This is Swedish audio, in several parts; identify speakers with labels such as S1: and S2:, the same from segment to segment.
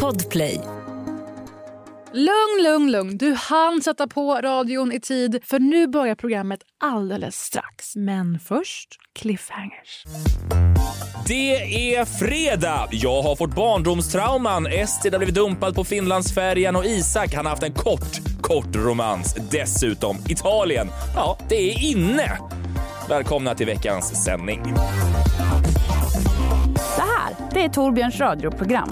S1: Podplay.
S2: Lugn, lugn, lugn. Du hann sätta på radion i tid för nu börjar programmet alldeles strax. Men först cliffhangers.
S3: Det är fredag! Jag har fått barndomstrauman. Estrid har blivit dumpad på Finlandsfärjan och Isak han har haft en kort, kort romans. Dessutom Italien. Ja, det är inne! Välkomna till veckans sändning.
S4: Det här, det är Torbjörns radioprogram.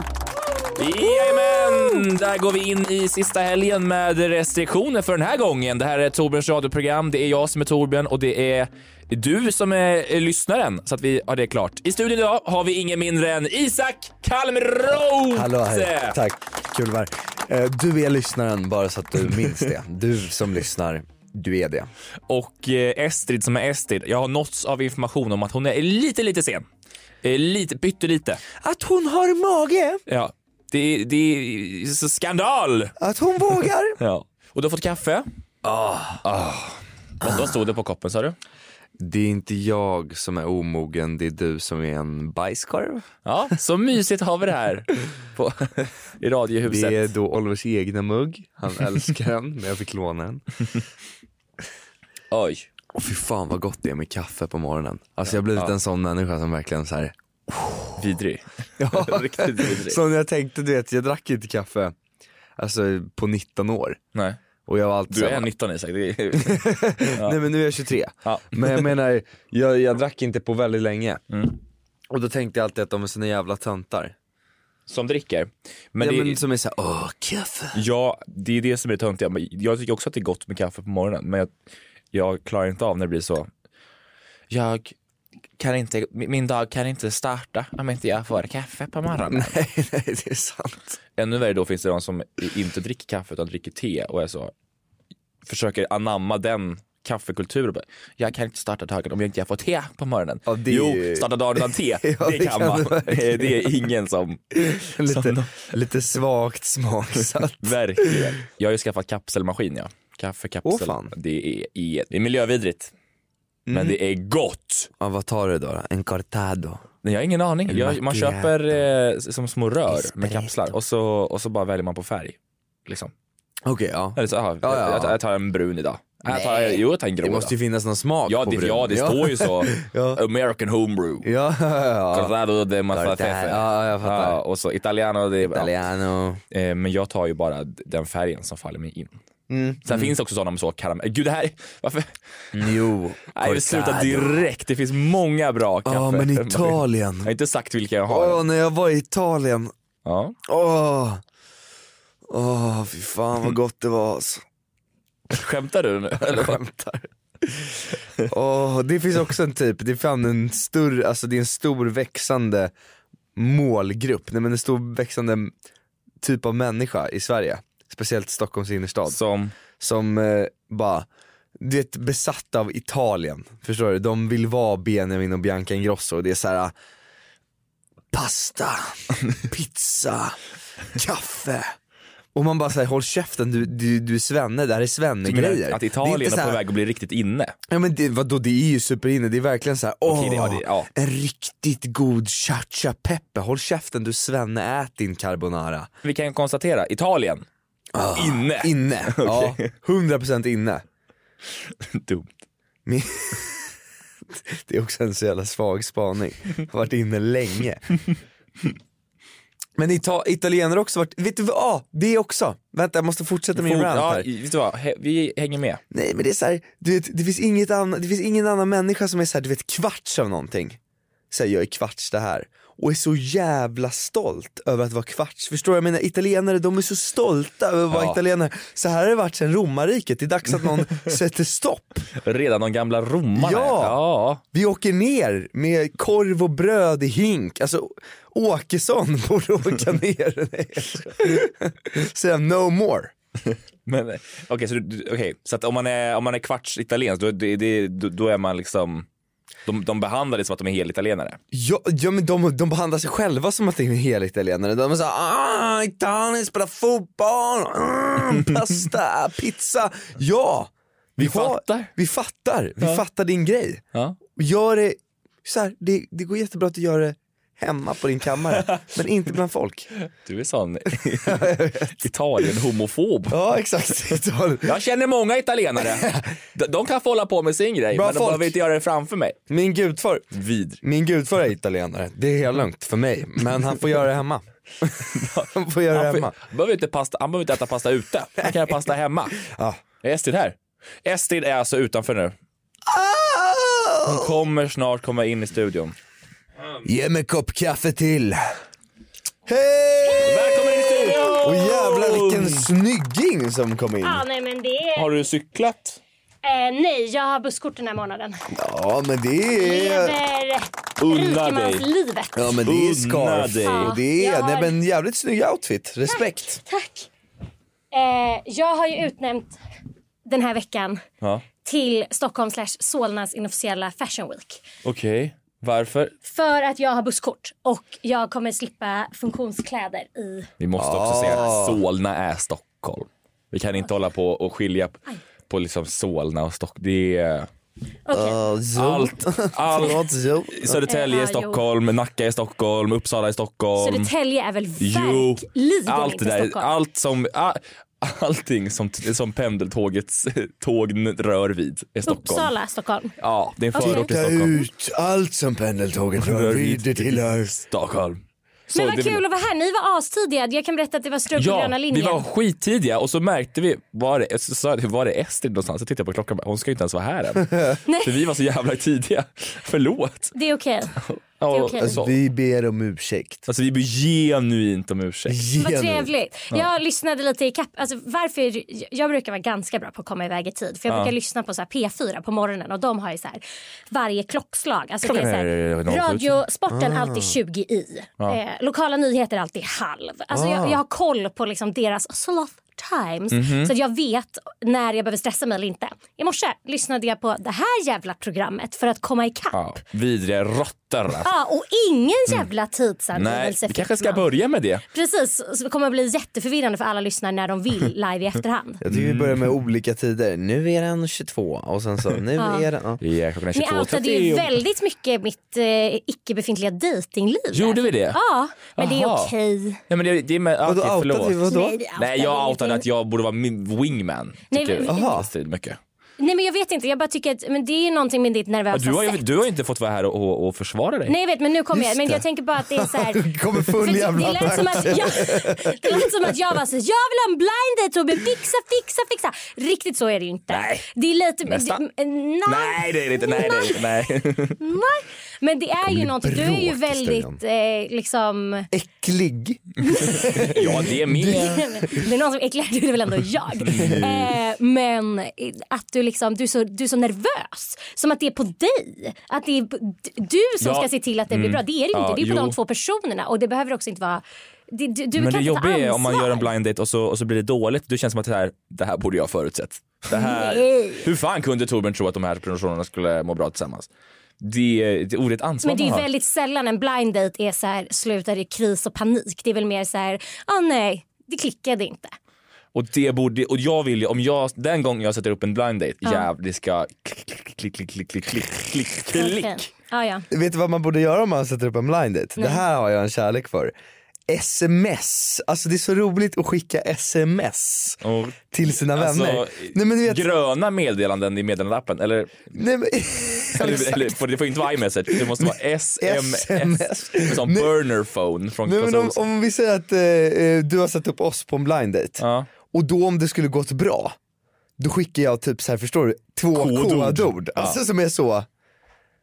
S3: Jajamän! Där går vi in i sista helgen med restriktioner för den här gången. Det här är Torbjörns radioprogram. Det är jag som är Torbjörn och det är du som är eh, lyssnaren. Så att vi har det klart. I studion idag har vi ingen mindre än Isak Kalmroth!
S5: Hallå, hej. Tack, kul att vara här. Eh, Du är lyssnaren bara så att du minns det. Du som lyssnar, du är det.
S3: och eh, Estrid som är Estrid. Jag har nåtts av information om att hon är lite, lite sen. Eh, Lite, pyttelite.
S5: Att hon har mage,
S3: Ja. Det, är- det är så skandal!
S5: att hon vågar.
S3: Ja. Och du har fått kaffe? Ah. Vad- Vad stod det på koppen sa du?
S6: Det är inte jag som är omogen, det är du som är en bajskorv.
S3: Ja, så mysigt har vi det här på, i radiohuset.
S6: Det är då Olivers egna mugg. Han älskar den, men jag fick låna den.
S3: Oj.
S6: Och fy fan vad gott det är med kaffe på morgonen. Alltså jag har blivit en sån människa som verkligen så här.
S3: Vidrig. Riktigt vidrig.
S6: Som jag tänkte, du vet, jag drack inte kaffe alltså på 19 år.
S3: Nej.
S6: Och jag var alltid
S3: Du
S6: så
S3: är
S6: här,
S3: 19 Isak. Det är...
S6: Nej men nu är jag 23.
S3: Ja.
S6: Men jag menar, jag, jag drack inte på väldigt länge. Och då tänkte jag alltid att de är såna jävla töntar.
S3: Som dricker. Men
S6: ja,
S3: det,
S6: men, som är såhär, åh kaffe.
S3: ja, det är det som är det töntiga. Men Jag tycker också att det är gott med kaffe på morgonen, men jag, jag klarar inte av när det blir så. Jag kan inte, min min dag kan inte starta om inte jag får kaffe på morgonen.
S6: nej, nej det är sant.
S3: Ännu värre då finns det de som inte dricker kaffe utan dricker te och är så, försöker anamma den kaffekulturen. Bara, Jag kan inte starta dagen om jag inte får te på morgonen.
S6: Ja, det är
S3: jo,
S6: ju-
S3: starta dagen utan te, det
S6: det
S3: kan
S6: kan
S3: man.
S6: du verkligen.
S3: Det är ingen som, som
S6: Lite, lite svagt smaksatt.
S3: verkligen. Jag har ju skaffat kapselmaskin ja. Kaffekapsel.
S6: Åh, fan. Mm.
S3: det, är, är- det är miljövidrigt. Men det är gott!
S6: ja, vad tar du då? då? En cortado?
S3: Nej, jag har ingen aning. Jag, man
S6: macchiato.
S3: köper eh, som små rör med
S6: Espresso.
S3: kapslar och så, och så bara väljer man på färg. Liksom.
S6: Okej, ja.
S3: Eller så, aha,
S6: Ja, ja,
S3: Jag,
S6: ja.
S3: jag tar en brun idag. Nej. Jag tar, jo, jag tar en grå
S6: Det måste ju
S3: idag.
S6: finnas någon smak
S3: Ja
S6: på
S3: det,
S6: brun.
S3: ja, det står ju så.
S6: Ja.
S3: American homebrew.
S6: Ja, ja, ja.
S3: Cortado de
S6: Cortado.
S3: mazzafefe.
S6: Ja, jag fattar.
S3: Ja, och så italiano. Det,
S6: Italiano.
S3: Ja. Eh, Men jag tar ju bara d- den färgen som faller mig in. Sen
S6: Mm.
S3: finns det också sådana med så karamell. Gud det här, varför?
S6: Jo,
S3: Nej, vi slutar direkt. Det finns många bra kaffe.
S6: Ja, men Italien.
S3: Jag har inte sagt vilka jag har.
S6: Åh, när jag var i Italien.
S3: Ja.
S6: Åh, åh, fy fan vad gott det var alltså.
S3: Skämtar du nu? Eller vad?
S6: Åh, det finns också en typ, det är fan en stor, alltså det är en stor växande målgrupp, nej men en stor växande typ av människa i Sverige, speciellt Stockholms innerstad,
S3: Som,
S6: som eh, bara, du vet besatta av Italien, förstår du? De vill vara Benjamin och Bianca Ingrosso och det är så här. pasta, pizza, kaffe. Och man bara säger håll käften du, du, du är svenne, det här är svenne-grejer.
S3: att
S6: Det är
S3: Italien
S6: inte
S3: är,
S6: så
S3: på
S6: här-
S3: väg att bli riktigt inne.
S6: Ja men det, vadå det är ju superinne, det är verkligen så här. åh,
S3: Okej, det- ja, det- ja.
S6: en riktigt god cha peppe, håll käften du svenne, ät din carbonara.
S3: Vi kan konstatera, Italien. inne.
S6: Inne, ja, 100% inne.
S3: Dumt.
S6: Men- det är också en så jävla svag spaning, har varit inne länge. Men ita- italienare har också varit, vet du vad, ah, det också, vänta jag måste fortsätta min
S3: Fort-
S6: rant
S3: ja,
S6: här.
S3: vet du vad, He- vi hänger med.
S6: Nej men det är såhär, du vet, det finns, inget annan, det finns ingen annan människa som är såhär, du vet kvarts av någonting. Säger jag är kvarts det här. Och är så jävla stolt över att vara kvarts. Förstår du? Jag menar italienare, de är så stolta över att vara
S3: Ja.
S6: italienare. Så här har det varit sedan romarriket, det är dags att någon sätter stopp.
S3: Redan de gamla romarna.
S6: Ja.
S3: ja.
S6: Vi åker ner med korv och bröd i hink. Alltså Åkesson borde åka ner. Nej, jag skojar. Säga no more.
S3: Men eh, okej, så, du- du- okej, så att om man är, om man är kvarts italiensk, då, det, det, då, då är man liksom, de, de behandlar det som att de är helitalienare.
S6: Ja, ja men de, de behandlar sig själva som att det är en hel italienare. De är såhär, ah, Italien spelar fotboll, mm, pasta, pizza. Ja! Vi,
S3: fattar.
S6: Vi fattar, vi
S3: Ja.
S6: fattar din grej.
S3: Ja.
S6: Och Gör det, så här, det, det går jättebra att du gör det hemma på din kammare, men inte bland folk.
S3: Du är sån Italien-homofob.
S6: Ja exakt, Italien.
S3: Jag känner många italienare. De- De kan få hålla på med sin grej,
S6: Bra
S3: men de
S6: folk.
S3: behöver inte göra det framför mig.
S6: Min gudfar,
S3: Vid.
S6: min gudfar är italienare, det är helt lugnt för mig, men han får göra det hemma. Han får göra det
S3: Han,
S6: hemma.
S3: får- behöver inte pasta, han behöver inte äta pasta ute. Han kan göra pasta hemma.
S6: Ja.
S3: Är Estrid här? Estrid är alltså utanför nu. Hon
S6: Ah!
S3: kommer snart komma in i studion.
S6: Ge mig en kopp kaffe till. Hej!
S3: Välkommen in i studion!
S6: Och jävlar vilken snygging som kom in.
S7: Ja, nej men det är...
S3: Mm. Har du cyklat?
S7: Eh, nej, jag har busskort den här månaden.
S6: Ja men det är,
S7: Lever
S3: Unna dig.
S7: rikemanslivet.
S6: ja, men det är
S3: Unna dig.
S6: scarf och det är,
S7: Ja, jag
S6: nej
S7: har-
S6: men jävligt snygg outfit, respekt.
S7: Tack. Eh, jag har ju utnämnt den här veckan
S3: Ja.
S7: till Stockholm slash Solnas inofficiella Fashion Week.
S3: Okej. Varför?
S7: För att jag har busskort och jag kommer slippa funktionskläder i...
S3: Vi måste också säga att Solna är Stockholm. Vi kan inte hålla på och skilja p- på liksom Solna och Stockholm. Det är
S7: Okej.
S3: Um, allt. allt.
S6: Förlåt, jo.
S3: Södertälje är
S7: Ja, jo.
S3: Stockholm, Nacka är Stockholm, Uppsala är Stockholm.
S7: Södertälje är väl
S3: Jo,
S7: verkligen
S3: allt det
S7: inte
S3: där,
S7: Stockholm?
S3: allt som, a- allting som, t- som pendeltågets eh, tåg n- rör vid är Stockholm.
S7: Uppsala, Stockholm.
S3: Ja, det är en förort till
S6: Ta
S3: Stockholm.
S6: ut allt som pendeltåget rör vid det tillhör.
S3: Stockholm. Så
S7: Men vad
S3: det-
S7: kul att vara här. Ni var astidiga. Jag kan berätta att det var strul på gröna
S3: Ja,
S7: linjen.
S3: vi var skittidiga och så märkte vi, var det, så, sa jag, var det Estrid någonstans? Jag tittade på klockan och bara, hon ska ju inte ens vara här än. För vi var så jävla tidiga. Förlåt.
S7: Det är okej.
S3: Ja,
S7: okej.
S3: alltså, vi...
S6: Vi ber om ursäkt.
S3: alltså vi ber genuint om ursäkt.
S7: Vad
S6: Genuint.
S7: trevligt. Jag lyssnade lite i kapp. Alltså, varför, jag brukar vara ganska bra på att komma iväg i tid. För Jag brukar lyssna på så här P4 på morgonen och de har ju så här, varje klockslag. Alltså, det är så
S3: Klockan är Ah.
S7: här,
S3: 07.
S7: radiosporten alltid 20 i. Eh, lokala nyheter alltid halv. Alltså,
S3: Ah.
S7: jag, jag har koll på liksom deras sloth times.
S3: Mhm.
S7: Så att jag vet när jag behöver stressa mig eller inte. I morse lyssnade jag på det här jävla programmet för att komma ikapp.
S3: Ja, vidriga råttor.
S7: Ja, och ingen jävla
S3: Mm. Nej,
S7: tidsangivelse
S3: vi
S7: fick
S3: kanske ska
S7: man.
S3: börja med det.
S7: Precis, så det kommer att bli jätteförvirrande för alla lyssnare när de vill live i efterhand.
S6: Jag tycker vi börjar med
S7: Mm.
S6: olika tider. Nu är den 22 och sen så, nu är den... Ja.
S3: Ja, klockan är
S7: Ni
S3: 22.30.
S7: outade ju väldigt mycket mitt eh, icke-befintliga dejtingliv.
S3: Gjorde vi det?
S7: Ja, men det
S3: Jaha.
S7: är okej.
S3: Ja, men det, det är med, okay,
S6: Vadå outade vi,
S3: förlåt.
S6: vadå?
S7: Nej, vi outade
S3: Nej, jag outade
S7: ingenting.
S3: att jag borde vara min wingman.
S7: Nej,
S3: Tycker
S7: men-
S3: jag. Strid mycket.
S7: Nej men jag vet inte, jag bara tycker att men det är ju någonting med ditt nervösa
S3: Du har ju
S7: sätt.
S3: du har ju inte fått vara här och, och, och försvara dig.
S7: Nej jag vet men nu kommer jag, men jag tänker bara att det är så här.
S6: Kommer
S7: För
S6: full
S7: det,
S6: jävla
S7: det, lät som att jag, det lät som att jag var så jag vill ha en blind date Tobbe, fixa, fixa, fixa. Riktigt så är det ju inte.
S3: Nej.
S7: Det är lite...
S3: Nästan.
S7: Det, nej.
S3: Nej, det är det inte. Nej, det är det inte. Nej.
S7: Nej, men det är ju någonting. Du är ju
S6: bråk i studion.
S7: väldigt eh, liksom...
S6: Äcklig.
S3: Ja, det är med.
S7: Det är någon som äcklar dig, det är väl ändå jag.
S3: Mm.
S7: Eh, men att du liksom, du är, så, du är så nervös. Som att det är på dig. Att det är på- d- du som
S3: Ja. Mm.
S7: ska se till att det blir bra. Det är det ju
S3: Ja,
S7: inte. Det är på
S3: jo.
S7: de två personerna. Och det behöver också inte vara... Det, du du
S3: Men det
S7: kan inte ta
S3: jobbiga är
S7: ansvar.
S3: om man gör en blind date och så, och så blir det dåligt. Då känns det som att det här, det här borde jag ha förutsett. Det här, hur fan kunde Torbjörn tro att de här personerna skulle må bra tillsammans? Det är det är ordet ansvar
S7: Men det är ju
S3: man har.
S7: väldigt sällan en blind date är så här, slutar i kris och panik. Det är väl mer så här, ah nej, det klickade inte.
S3: Och det borde, och jag vill ju, om jag, den gången jag sätter upp en blind date, jävlar det ska klick, klick, klick, klick, klick, klick, klick, klick.
S7: Okej. Ja, ja.
S6: Vet du vad man borde göra om man sätter upp en blind date? Det här har jag en kärlek för. Sms, alltså det är så roligt att skicka sms
S3: Och,
S6: till sina
S3: alltså,
S6: vänner. Nej men du vet,
S3: gröna meddelanden i meddelandeappen, eller,
S6: nej men,
S3: Alltså, eller, eller för det får inte vara iMessage, det måste vara SMS.
S6: SMS.
S3: Som burner phone från
S6: nej, men om,
S3: Clas
S6: om vi säger att eh, eh, du har satt upp oss på en blind date
S3: Ja.
S6: och då om det skulle gått bra, då skickar jag typ så här förstår du, två
S3: Kodord.
S6: kodord. Alltså som är så,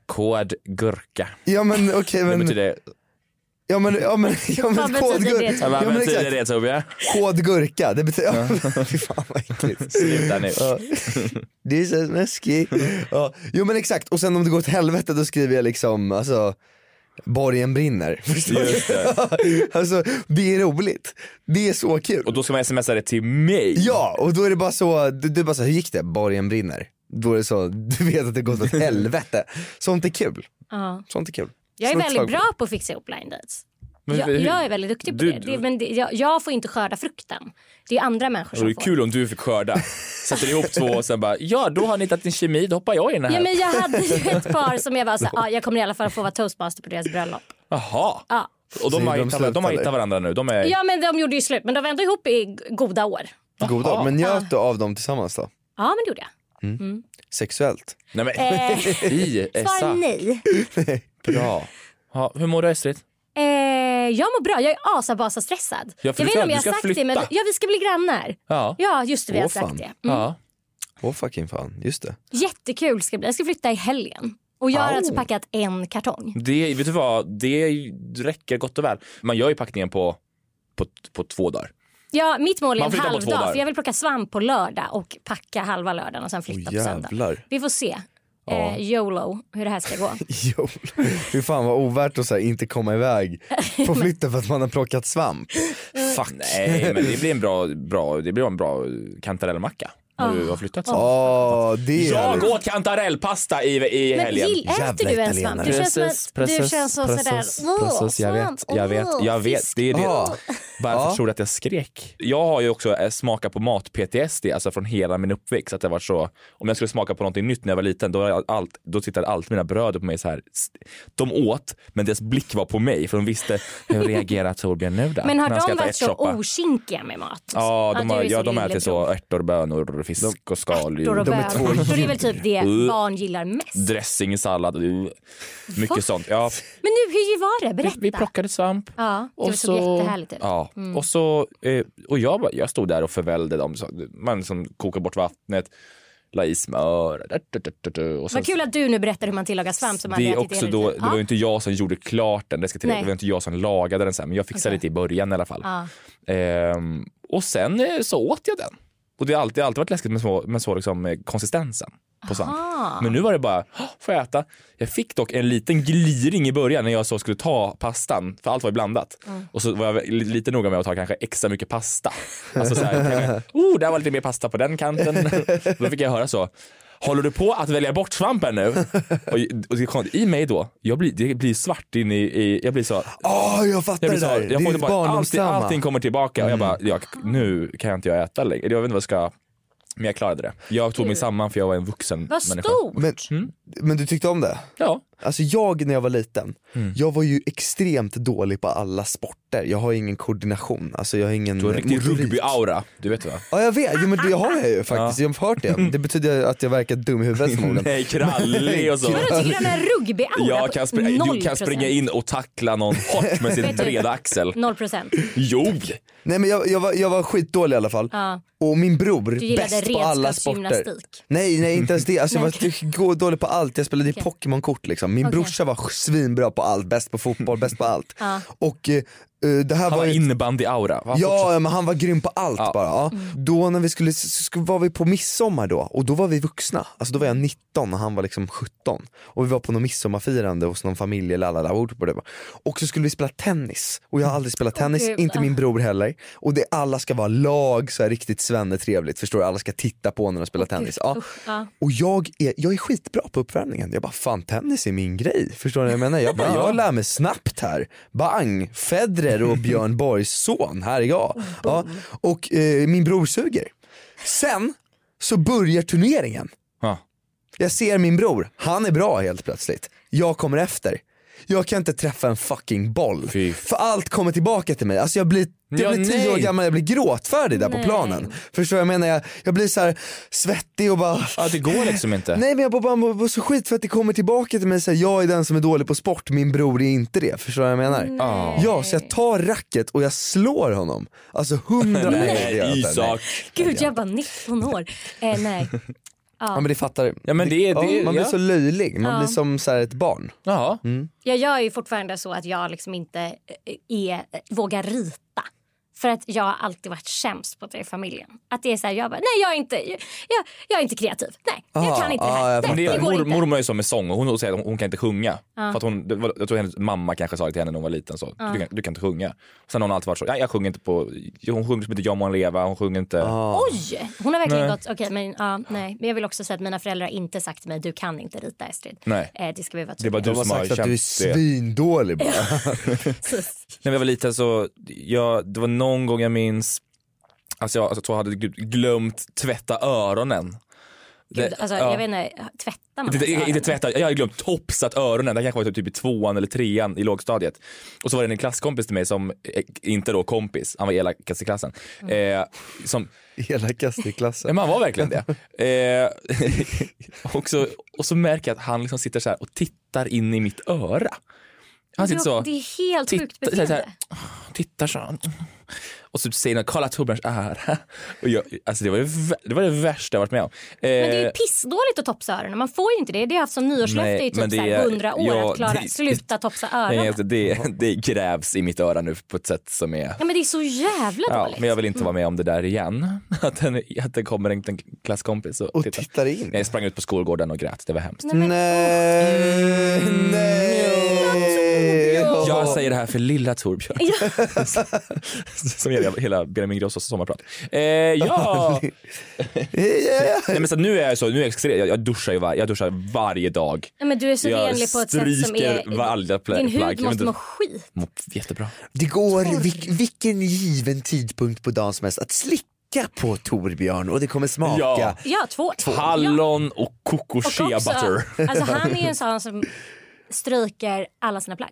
S3: Kod gurka.
S6: ja men okej
S3: Det
S6: men,
S3: betyder
S6: ja men, ja men, ja
S7: Vad
S6: men
S7: betyder
S6: kodgurka.
S7: det, Tobias?
S3: Ja,
S6: Ja,
S3: vad
S6: men
S3: betyder
S6: exakt,
S3: det Tobias?
S6: kodgurka, det betyder, ja, men, fy fan vad äckligt.
S3: Sluta nu.
S6: Ja. Det är så snuskigt. Ja. Jo men exakt, och sen om det går åt helvete då skriver jag liksom, alltså Borgen brinner. Förstår
S3: Just det.
S6: du? Alltså det är roligt. Det är så kul.
S3: Och då ska man smsa det till mig.
S6: Ja, och då är det bara så, du, du bara så, hur gick det? Borgen brinner. Då är det så, du vet att det gått åt helvete. Sånt är kul.
S7: ja.
S6: Sånt är kul.
S7: Jag är
S6: Slå ett slag
S7: väldigt
S6: på
S7: bra på att fixa ihop blind dates.
S3: Men
S7: jag,
S3: hur-
S7: jag är väldigt duktig på
S3: Du-
S7: det. det men det, jag, jag får inte skörda frukten. Det är andra människor
S3: Och det
S7: som
S3: är
S7: får.
S3: kul om du fick skörda. Sätter ihop två och sen bara, ja då har ni hittat din kemi, då hoppar jag in här.
S7: Ja, men jag hade ju ett par som jag var så här, ah, jag kommer i alla fall få vara toastmaster på deras bröllop.
S3: Jaha.
S7: Ja.
S3: Och de
S6: Så
S3: har,
S6: de
S3: hittat, de har
S6: slutade?
S3: hittat varandra nu. De är...
S7: ja men de gjorde ju slut men de var ändå ihop i g- goda år.
S6: Goda,
S3: Jaha.
S6: men njöt du av dem tillsammans då?
S7: Ja men det gjorde jag.
S6: Sexuellt?
S3: Nej, men...
S7: Eh,
S3: I
S7: Svar
S3: Essa.
S7: nej.
S6: Bra.
S3: Ja, hur mår du Estrid?
S7: Eh, jag mår bra, jag är asabasa stressad.
S3: Ja, för du
S7: jag vet
S3: ska-
S7: inte om jag
S3: du
S7: har
S3: ska
S7: sagt
S3: flytta.
S7: det men ja, vi ska bli grannar.
S3: Ja.
S7: Ja just det vi
S6: Åh,
S7: har sagt
S6: fan.
S7: det. Mm.
S3: ja.
S6: Åh fucking fan, just det.
S7: Jättekul ska det bli, jag ska flytta i helgen. Och jag har
S6: Au.
S7: alltså packat en kartong.
S3: Det, vet du vad, det räcker gott och väl. Man gör ju packningen på, på, på två dagar.
S7: Ja, mitt mål är
S3: Man
S7: en
S3: flyttar på
S7: halv
S3: två
S7: dag
S3: dagar.
S7: för jag vill plocka svamp på lördag och packa halva lördagen och sen
S6: Åh
S7: flytta på söndag.
S6: jävlar.
S7: Vi får se.
S3: Ja.
S7: Eh, YOLO, hur det här ska gå.
S6: Jo, hur fan vad ovärt att så här, inte komma iväg på flytten för att man har plockat svamp.
S7: Mm.
S6: Fuck.
S3: Nej, men det blir en bra, bra, det blir en bra kantarellmacka när
S7: Ah.
S3: du har flyttat. sen.
S6: Åh, Ah, det är
S3: Jag
S6: härligt.
S3: åt kantarellpasta i, i
S7: Men
S3: helgen.
S7: gill, äter
S6: Jävla
S7: du en svamp?
S6: italienare.
S7: Du känns, som
S3: Precis,
S7: att, du
S3: precis,
S7: känns så
S3: precis,
S7: sådär, åh,
S3: precis, jag
S7: svamp,
S3: vet, jag vet,
S7: åh,
S3: jag vet.
S7: fisk."
S3: Det är det.
S6: Ja.
S3: Varför
S6: Ja.
S3: tror du att jag skrek? Jag har ju också eh, smakat på mat-PTSD, alltså från hela min uppväxt. Att det var så, om jag skulle smaka på någonting nytt när jag var liten, då, var jag allt, då tittade allt mina bröder på mig så här. S- De åt, men deras blick var på mig, för de visste hur reagerar Torbjörn nu då?
S7: Men har
S3: När han ska
S7: de
S3: äta
S7: varit så
S3: ärtsoppa.
S7: okinkiga med mat?
S3: Ja, de,
S7: du
S3: har,
S7: är
S3: ja, de
S7: lillebror.
S3: äter så ärtor, bönor, fisk och
S7: Ärtor och
S3: skaldjur.
S7: bönor. Ärtor är väl typ det
S3: Uh.
S7: barn gillar mest.
S3: Dressing, sallad, uh,
S7: Va?
S3: mycket sånt. Ja,
S7: Men nu, hur var det?
S3: vi,
S7: Berätta.
S3: vi plockade svamp.
S7: ja, det såg jättehärligt Mm. ut.
S3: Ja. Och, så, eh, och jag, bara- jag stod där och förvällde dem. Så, man som kokar bort vattnet, la i smör. da, da, da, da, da, Och sen,
S7: Vad kul att du nu berättar hur man tillagar svamp som man
S3: det,
S7: hade
S3: är
S7: ätit i
S3: också
S7: hela
S3: då,
S7: livet.
S3: det var ju inte jag som gjorde klart den, det, ska till,
S7: Nej.
S3: det var inte jag som lagade den sen, men jag fixade lite i början i alla fall.
S7: ja.
S3: Ehm, och sen eh, så åt jag den. Och det har alltid, alltid varit läskigt med, små, med så liksom, eh, konsistensen på svamp.
S7: Ah.
S3: Men nu var det bara, "Åh, får jag äta? Jag fick dock en liten gliring i början när jag så skulle ta pastan, för allt var ju blandat. Och så var jag li- lite noga med att ta kanske extra mycket pasta. Alltså så här, kanske, oh, där var lite mer pasta på den kanten. då fick jag höra så, håller du på att välja bort svampen nu? Och, och det kom, I mig då, jag blir, det blir svart in i, i jag blir så,
S6: Åh, Ah, jag fattar
S3: jag blir
S6: det
S3: så,
S6: där.
S3: jag
S6: det
S3: får
S6: är Mm.
S3: det
S6: ditt
S3: bara, allting,
S6: barndomstrauma.
S3: allting kommer tillbaka och jag bara, jag, nu kan jag inte jag äta längre. Jag vet inte vad jag ska, men jag klarade det. Jag tog mig samman för jag var en vuxen
S7: Vad
S3: människa.
S7: stort!
S6: Men,
S3: Mm.
S6: men du tyckte om det?
S3: Ja.
S6: Alltså jag när jag var liten,
S3: Mm.
S6: jag var ju extremt dålig på alla sporter. Jag har ingen koordination, alltså jag har ingen
S3: Du har en riktig
S6: motorik.
S3: rugby-aura, du vet va?
S6: Ja jag vet, jo, men det har jag ju faktiskt. Jag har hört det. Det betyder att jag verkar dum i huvudet förmodligen.
S3: Nej, krallig och så.
S7: Vadå, tycker du att en rugby-aura
S3: Jag
S7: på
S3: kan springa, du kan
S7: 0%?
S3: springa in och tackla någon hårt med sin
S7: Vet du-
S3: breda axel.
S7: 0 procent.
S3: Jo!
S6: Nej men jag, jag, var, jag var skitdålig i alla fall.
S7: Ja.
S6: Och min bror,
S7: Du gillade
S6: bäst på alla sporter.
S7: redskapsgymnastik.
S6: Nej, nej inte ens det. Alltså, jag var dålig på allt. Jag spelade i
S7: Okej.
S6: Pokémon-kort liksom. Min
S7: Okej.
S6: brorsa var svinbra på allt, bäst på fotboll, bäst på allt.
S7: Ja.
S6: Och eh, eh, det här
S3: Han
S6: var
S3: har
S6: ju
S3: innebandy-aura. Va?
S6: Ja, ja men han var grym på allt
S3: Ja.
S6: bara. Ja. Då när vi skulle, sk- var vi på midsommar då och då var vi vuxna. Alltså då var jag 19 och han var liksom 17. Och vi var på någon midsommarfirande hos någon familj eller alla där på det. Och så skulle vi spela tennis och jag har aldrig spelat tennis,
S7: gud.
S6: inte min bror heller. Och det alla ska vara lag, så här riktigt trevligt förstår du? Alla ska titta på när de spelar tennis. Ja.
S7: Usch, ja.
S6: Och jag är, jag är skitbra på uppvärmningen. Jag bara, fan tennis är min grej. Förstår ni vad jag menar? Jag, bara, jag lär mig snabbt här. Bang! Federer och Björn Borgs son, här är jag. Ja, och eh, min bror suger. Sen så börjar turneringen.
S3: Ja.
S6: Jag ser min bror, han är bra helt plötsligt. Jag kommer efter. Jag kan inte träffa en fucking boll.
S3: Fy.
S6: För allt kommer tillbaka till mig. Alltså jag blir, jag
S3: Ja,
S6: blir tio
S3: nej.
S6: år gammal, jag blir gråtfärdig där på
S7: Nej.
S6: planen. Förstår du vad jag menar? Jag, jag blir så här svettig och bara
S3: Ja, det går liksom inte.
S6: Nej men jag bara, bara mår så skit för att det kommer tillbaka till mig såhär, jag är den som är dålig på sport, min bror är inte det. Förstår du vad jag menar?
S3: Ja.
S6: Ja, så jag tar racket och jag slår honom. Alltså hundra procent. gör jag
S3: Nej,
S6: inte.
S3: Isak.
S7: Gud, jag var 19 år. Eh, nej.
S6: Ja men det fattar
S3: Ja, men det är- det är-
S6: man blir
S3: ja.
S6: så löjlig, man
S7: Ja.
S6: blir som så här ett barn.
S3: Ja.
S7: Jag gör ju fortfarande så att jag liksom inte eh, är, vågar eh, rita. För att jag har alltid varit sämst på det i familjen. Att det är så här, jag bara, nej jag är inte, jag, jag, jag är inte kreativ. Nej, jag
S6: Ah,
S7: kan inte det
S6: ah,
S7: här.
S6: jag
S7: Nej,
S3: Men det är,
S7: går
S3: mor,
S7: inte.
S3: mormor är som med sång och hon säger att hon, hon kan inte sjunga. För att hon, det var- jag tror hennes mamma kanske sa det till henne när hon var liten. Så. Du, kan, du kan inte sjunga. Sen har hon alltid varit så, nej jag sjunger inte på, hon sjunger som inte Jag må leva, hon sjunger inte.
S7: Oj! Hon har verkligen gått, okej men ja, nej. Men jag vill också säga att mina föräldrar har inte sagt till mig, du kan inte rita Estrid.
S3: Nej.
S7: Eh, det ska vi vara
S3: Det är bara du
S7: tydliga
S6: De har
S3: som har
S6: sagt att
S3: känt
S6: du är
S3: det.
S6: svindålig bara.
S7: med.
S3: När jag var liten så, jag, det var någon gång jag minns, alltså jag alltså, tror jag hade gl- glömt tvätta öronen.
S7: Gud, alltså,
S3: ja.
S7: jag vet inte, tvättar man
S3: Inte,
S7: ens
S3: inte, inte
S7: öronen?
S3: tvätta, jag hade glömt topsat öronen. Det här kanske var typ i tvåan eller trean i lågstadiet. Och så var det en klasskompis till mig som, eh, inte då kompis, han var elakast i klassen.
S7: Mm.
S3: Eh, som,
S6: Elakast i klassen.
S3: nej, men han var verkligen det. Eh, och, så, och så märker jag att han liksom sitter så här och tittar in i mitt öra. Han sitter så,
S7: Det är helt sjukt
S3: tittar så här, så
S7: beteende.
S3: här, tittar så här. Och så säger han, kolla Torbjörns öra. Och jag, alltså det var, det vä- det var det värsta jag varit med om.
S7: Men det är ju
S3: Eh,
S7: pissdåligt att topsa öronen. Man får ju inte det. Det har jag haft som nyårslöfte
S3: Nej,
S7: i
S3: men
S7: typ
S3: det
S7: så här
S3: är-
S7: 100 år
S3: ja,
S7: att klara,
S3: det-
S7: sluta topsa
S3: Nej,
S7: öronen.
S3: alltså det, det grävs i mitt öra nu på ett sätt som är...
S7: Ja, men det är så jävla
S3: Ja,
S7: dåligt.
S3: men jag vill inte vara med om det där igen. Att, den, att det kommer en liten klasskompis och,
S6: Och tittar in.
S3: Jag sprang ut på skolgården och grät, det var hemskt.
S7: Nej, men-
S6: Nej, nej.
S7: Mm.
S3: Jag säger det här för lilla Torbjörn. som gäller hela Benjamin Grossos sommarprat. Eh, ja!
S6: Ja.
S3: Nej, men så att nu är jag så, nu är jag, extrem. jag, jag, duschar ju var, jag duschar varje dag.
S7: Nej, men du är så
S3: jag
S7: renlig på ett sätt som
S3: stryker
S7: är...
S3: varje plä- plagg.
S7: din
S3: Jag
S7: hud
S3: vet
S7: måste
S3: inte-
S7: må skit.
S3: Mår Jättebra.
S6: Det går vil- vilken given tidpunkt på dagen som helst att slicka på Torbjörn och det kommer smaka.
S3: Ja.
S7: Ja, två. Ja.
S3: Hallon och coco
S7: Och
S3: shea
S7: också,
S3: butter.
S7: Alltså han är ju en sån som stryker alla sina plagg.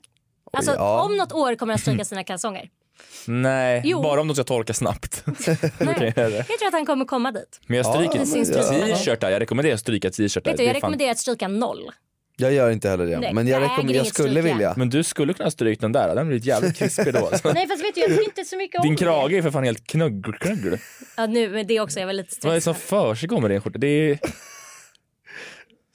S7: Alltså
S6: ja.
S7: om något år kommer han stryka sina kalsonger.
S3: Nej,
S7: Jo.
S3: bara om de ska torka snabbt.
S7: Nej.
S3: Okej, det är det.
S7: Jag tror att han kommer komma dit.
S3: Men jag
S6: Ja,
S3: stryker
S6: men
S7: ja.
S3: t-shirtar. Jag rekommenderar att stryka t-shirtar.
S7: Vet
S3: Det
S7: du,
S3: är
S7: jag
S3: fan-
S7: rekommenderar att stryka noll.
S6: Jag gör inte heller det,
S7: Nej,
S6: men jag,
S7: jag
S6: rekommenderar-
S7: äger
S6: jag
S7: inget
S6: skulle
S7: stryk, ja.
S6: vilja.
S3: Men du skulle kunna ha strykt den där. Den blir jävligt krispig då. alltså.
S7: Nej fast vet du jag tror inte så mycket om
S3: Din
S7: det.
S3: krage är för fan helt knöggelknöggel.
S7: Ja nu, men det också. Jag var lite
S3: Vad är det
S7: stressad.
S3: som försiggår med din skjorta? Det är...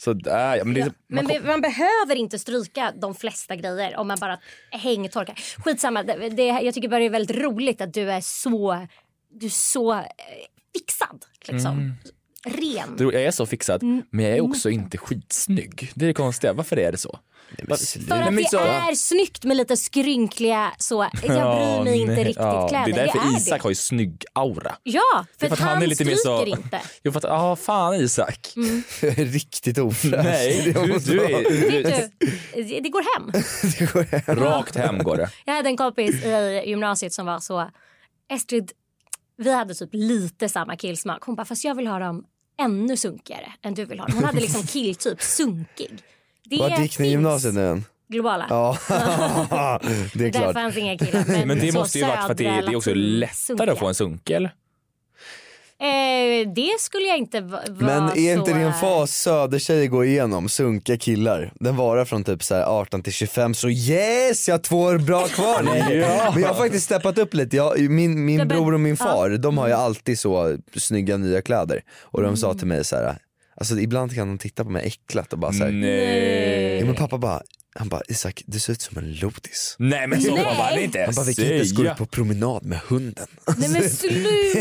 S3: Sådär ja. Men det är...
S7: Men
S3: man
S7: be- man behöver inte stryka de flesta grejer om man bara hängtorkar. Skitsamma, det, det, jag tycker bara det är väldigt roligt att du är så, du är så eh, fixad. Liksom.
S3: Mm.
S7: Ren.
S3: kom- jag är så fixad,
S7: Mm.
S3: men jag är också inte skitsnygg. Det är det konstiga. Varför är det så?
S7: För att det
S3: så-
S7: är snyggt med lite skrynkliga så, jag bryr mig
S3: Ja,
S7: inte
S3: nej.
S7: riktigt
S3: Ja,
S7: kläder.
S3: Det är därför Isak
S7: det.
S3: har ju snygg aura.
S7: Ja, för,
S3: Det är
S7: att han, stryker inte.
S3: Jo, för att, ah, fan Isak.
S7: Mm.
S6: Jag är riktigt ofräsch.
S3: Nej, du, du är... Du,
S7: Vet du, det- det går hem.
S3: rakt hem går det.
S7: Jag hade en kompis i gymnasiet som var så... Estrid, vi hade typ lite samma killsmak. Hon bara, fast jag vill ha dem ännu sunkigare än du vill ha dem. Hon hade liksom killtyp sunkig. Det
S6: Vart gick ni i
S7: finns
S6: gymnasiet nu än?
S7: Globala.
S6: Ja, det är
S7: Där
S6: klart.
S7: fanns inga killar. Men,
S3: Men det
S7: så
S3: måste ju varit för att det,
S7: södra
S3: det är också
S7: latin-
S3: lättare att få en sunkel.
S7: sunkiga. Eh, det skulle jag inte va- vara
S6: Men är inte
S7: så...
S6: det en fas södertjejer går igenom, sunkiga killar? Den varar från typ så här 18 till 25 så yes jag har två år bra kvar nu. Men jag har faktiskt steppat upp lite, jag, min,
S7: Det
S6: min
S7: bör-
S6: bror och min far de har ju alltid så snygga nya kläder och de sa till mig så här. Alltså ibland kan de titta på mig äcklat och bara såhär, ja, men pappa bara, han bara Isak du ser ut som en lodis.
S3: Nej men så
S7: Nej.
S3: får man inte
S6: Han bara vi kan inte ens gå
S3: säga.
S6: ut på promenad med hunden.
S7: Nej men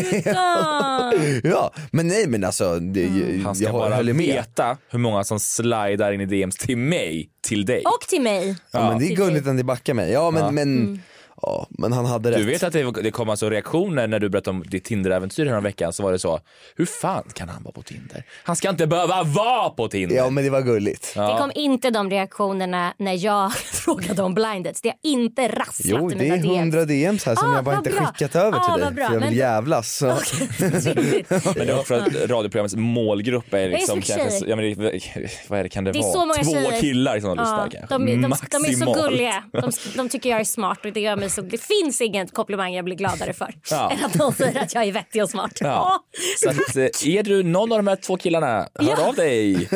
S7: sluta!
S6: Ja men nej men alltså, det,
S3: Mm. Han
S6: jag,
S3: ska
S6: jag
S3: bara
S6: håller med.
S3: veta hur många som slidar in i DMs till mig, till dig.
S7: Och till mig.
S6: Ja, men det är gulligt att ni backar mig. Ja men, men,
S7: Mm.
S6: ja, men han hade rätt.
S3: Du vet att det, det kom alltså reaktioner när du berättade om ditt Tinder-äventyr här om veckan så var det så, hur fan kan han vara på Tinder? Han ska inte behöva vara på Tinder!
S6: Ja men det var gulligt.
S7: Det kom inte de reaktionerna när jag frågade om blindets. Det har inte rasslat
S6: Jo
S7: i
S6: det
S7: mina
S6: är
S7: DMs.
S6: hundra DMs här som
S7: Ah,
S6: jag bara
S7: vad
S6: inte
S7: bra.
S6: skickat över
S7: Ah,
S6: till dig
S7: vad bra.
S6: för jag vill
S7: Men-
S6: jävlas. Så.
S7: Trevligt.
S3: Men det är för att radioprogrammets målgrupp är liksom
S7: för
S3: kanske,
S7: tjejer?
S3: ja, men det, vad är det, kan det,
S7: Det är
S3: vara?
S7: så många
S3: Två
S7: tjejer.
S3: killar som
S7: Ja,
S3: lyssnar
S7: de,
S3: kanske.
S7: de, de, de är så
S3: Maximalt.
S7: gulliga. De, de tycker jag är smart och det gör mig så... Det finns ingen komplimang jag blir gladare för
S3: Ja.
S7: än att de säger att jag är vettig och smart.
S3: Ja. Så att, eh, är du någon av de här två killarna, hör
S7: Ja.
S3: av dig.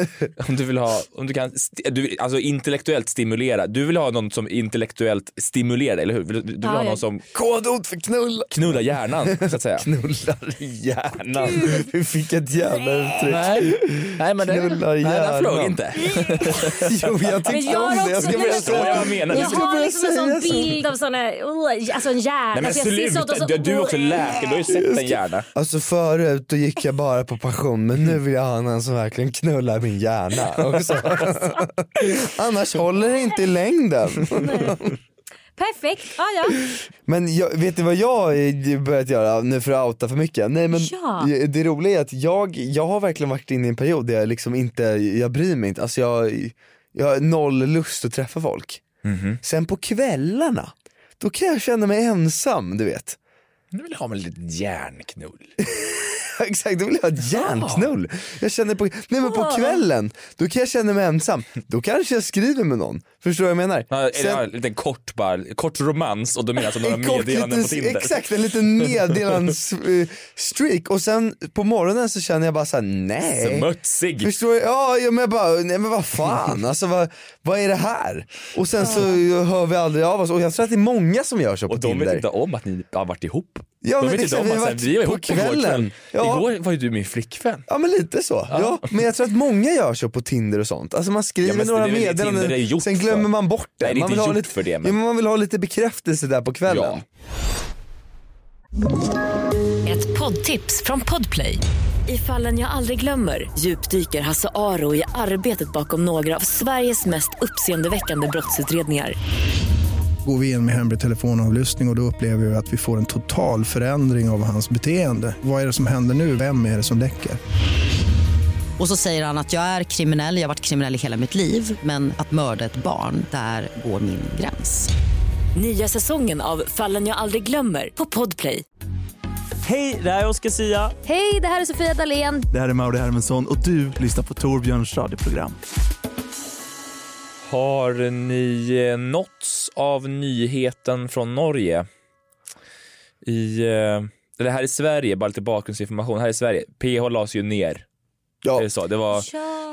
S3: Om du vill ha, om du kan, st- du, alltså intellektuellt stimulera. Du vill ha någon som intellektuellt stimulerar dig, eller hur? Du, du vill
S7: Ja,
S3: ha
S7: ja.
S3: någon som
S6: Kodord för knulla.
S3: knullar hjärnan, så att säga.
S6: Knullar hjärnan. Vi fick ett jävla uttryck.
S3: Nej, nej men den,
S6: Knullar
S3: nej, den
S6: hjärnan.
S3: flög inte.
S6: Jo jag
S7: Men
S6: tyckte
S7: jag
S6: om
S7: har
S6: det. Jag
S7: också-
S6: ska
S7: nej,
S6: börja
S7: men-
S3: Så
S6: säga.
S3: jag menar.
S7: Jag
S6: ska
S7: har
S6: börja
S7: liksom en
S6: säga
S7: sån
S6: så.
S7: bild av såna oh, alltså en hjärna.
S3: Nej men
S7: Alltså, jag ser sånt och
S3: sluta,
S7: så-
S3: du, du är också läkare, du har ju sett en hjärna.
S6: Alltså förut då gick jag bara på passion men nu vill jag ha någon som verkligen knullar min hjärna också. Annars håller det inte i längden.
S7: Perfekt, ja ja.
S6: Men jag, vet ni vad jag har börjat göra nu för att outa för mycket? Nej men
S7: Ja.
S6: det roliga är att jag, jag har verkligen varit inne i en period där jag liksom inte, jag bryr mig inte, alltså jag, jag har noll lust att träffa folk. Sen på kvällarna, då kan jag känna mig ensam du vet.
S3: Nu vill jag ha med lite järnknull.
S6: Exakt, då vill jag ha ett järnknull. Jag känner på, nej men på
S7: Ja.
S6: kvällen, då kan jag känna mig ensam. Då kanske jag skriver med någon. Förstår du vad jag menar?
S3: Ja,
S6: Sen-
S3: ja, en liten kort, bara, kort romans och då menar jag alltså några
S6: en kort
S3: meddelanden på
S6: liten,
S3: Tinder.
S6: exakt, en liten meddelandsstreak och sen på morgonen så känner jag bara såhär, nej.
S3: Smutsig.
S6: Förstår du? Ja, ja men jag bara, nej men vad fan, alltså vad, vad är det här? Och sen så hör vi aldrig av oss och jag tror att det är många som gör så på
S3: Ah. Och de
S6: Tinder.
S3: vet inte om att ni har varit ihop.
S6: Ja,
S3: de
S6: men
S3: vet
S6: exakt,
S3: inte
S6: vi
S3: om
S6: har
S3: att
S6: varit
S3: så här, vi var
S6: på
S3: ihop igår
S6: kvällen.
S3: kväll.
S6: Ja.
S3: Igår var ju du min flickvän.
S6: Ja men lite så, ja. men jag tror att många gör så på Tinder och sånt. Alltså man skriver
S3: Ja, men
S6: några
S3: det är väl det Tinder är
S6: meddelanden,
S3: gjort
S6: sen glömmer
S3: för.
S6: man bort det.
S3: Nej, det är
S6: man,
S3: inte
S6: vill ha
S3: gjort
S6: lite,
S3: för det, men-
S6: ja, men man vill ha lite bekräftelse där på kvällen.
S3: Ja.
S4: Ett poddtips från Podplay. I fallen jag aldrig glömmer djupdyker Hasse Aro i arbetet bakom några av Sveriges mest uppseendeväckande brottsutredningar.
S8: Går vi in med hemlig telefonavlyssning och, och då upplever vi att vi får en total förändring av hans beteende. Vad är det som händer nu? Vem är det som läcker?
S9: Och så säger han att jag är kriminell, jag har varit kriminell i hela mitt liv men att mörda ett barn, där går min gräns.
S4: Nya säsongen av Fallen jag aldrig glömmer på Podplay.
S10: Hej, det här är Oscar Sia.
S7: Hej, det här är Sofia Dalén.
S10: Det här är Mauri Hermansson och du lyssnar på Torbjörns radioprogram.
S3: Har ni eh, nåtts av nyheten från Norge? I, eh, eller här i Sverige, bara lite bakgrundsinformation. Här i Sverige, PH lades ju ner.
S6: Ja.
S3: Är det så? Det var...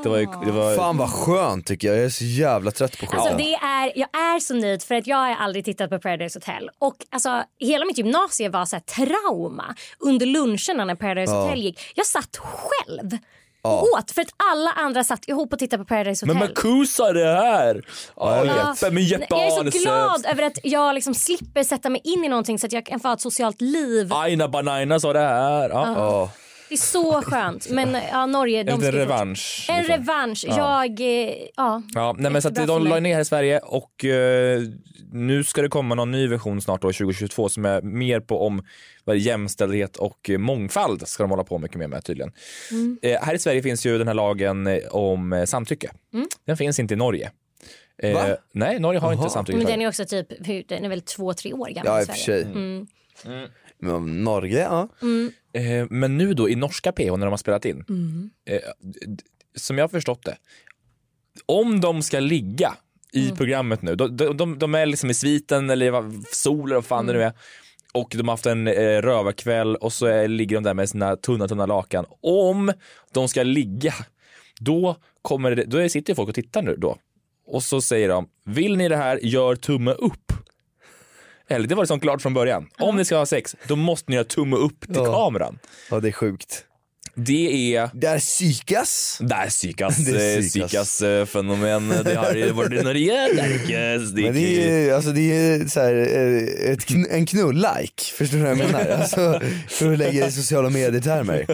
S3: Det var, ju- det var
S6: Fan vad skönt tycker jag, jag är så jävla trött på skit.
S7: Alltså det är, jag är så nöjd för att jag har aldrig tittat på Paradise Hotel. Och alltså, hela mitt gymnasie var så här trauma under luncherna när Paradise Hotel gick. Jag satt själv och åt för att alla andra satt ihop och tittade på Paradise
S3: Men
S7: Hotel.
S3: Marcuse är det här! Ja, Jeppe, men Jeppe
S7: jag är så
S3: Ahlsöf.
S7: glad över att jag liksom slipper sätta mig in i någonting så att jag kan få ha ett socialt liv.
S3: eh, Aina Banina sa det här. Ja.
S6: Ja.
S7: Det är så skönt. Men ja, Norge, de
S3: En
S7: ska
S3: liten
S7: ju fortsätta.
S3: revansch.
S7: En
S3: liksom.
S7: revansch. Jag, eh, ja.
S3: Ja, nej, men så att
S7: Jättebra
S3: de
S7: för
S3: la
S7: mig.
S3: ner här i Sverige och eh, nu ska det komma någon ny version snart då 2022 som är mer på om vad är det, jämställdhet och eh, mångfald ska de hålla på mycket mer med tydligen.
S7: Mm.
S3: Eh, här i Sverige finns ju den här lagen eh, om eh, samtycke.
S7: Mm.
S3: Den finns inte i Norge. Eh,
S6: Va?
S3: Nej, Norge har inte samtycke.
S7: Men den är också typ, hur- den är väl två, tre år gammal
S6: Ja
S7: i
S6: i och för
S7: Sverige. Mm.
S6: sig.
S3: Mm.
S6: Men Norge, ja.
S3: Eh, Men nu då i norska PH när de har spelat in, eh, d- som jag har förstått det, om de ska ligga i programmet nu, de, de- de, de är liksom i sviten eller vad- sol eller vad fan det nu är, och de har haft en eh, rövarkväll och så är, ligger de där med sina tunna tunna lakan. Om de ska ligga, då, kommer det, då sitter ju folk och tittar nu då. Och så säger de, vill ni det här, gör tumme upp. Eller det var liksom klart från början. Om ni ska ha sex, då måste ni göra tumme upp till
S6: Ja.
S3: kameran.
S6: Ja det är sjukt.
S3: Det är
S6: Där psykas.
S3: där psykas,
S6: Det är
S3: eh,
S6: psykas.
S3: psykas eh, fenomen. Det har ju varit Norge.
S6: Men det är ju, alltså det är ju så här, eh, ett kn- en knull-like, förstår du vad jag menar? Alltså, för att lägga det i sociala medier-termer.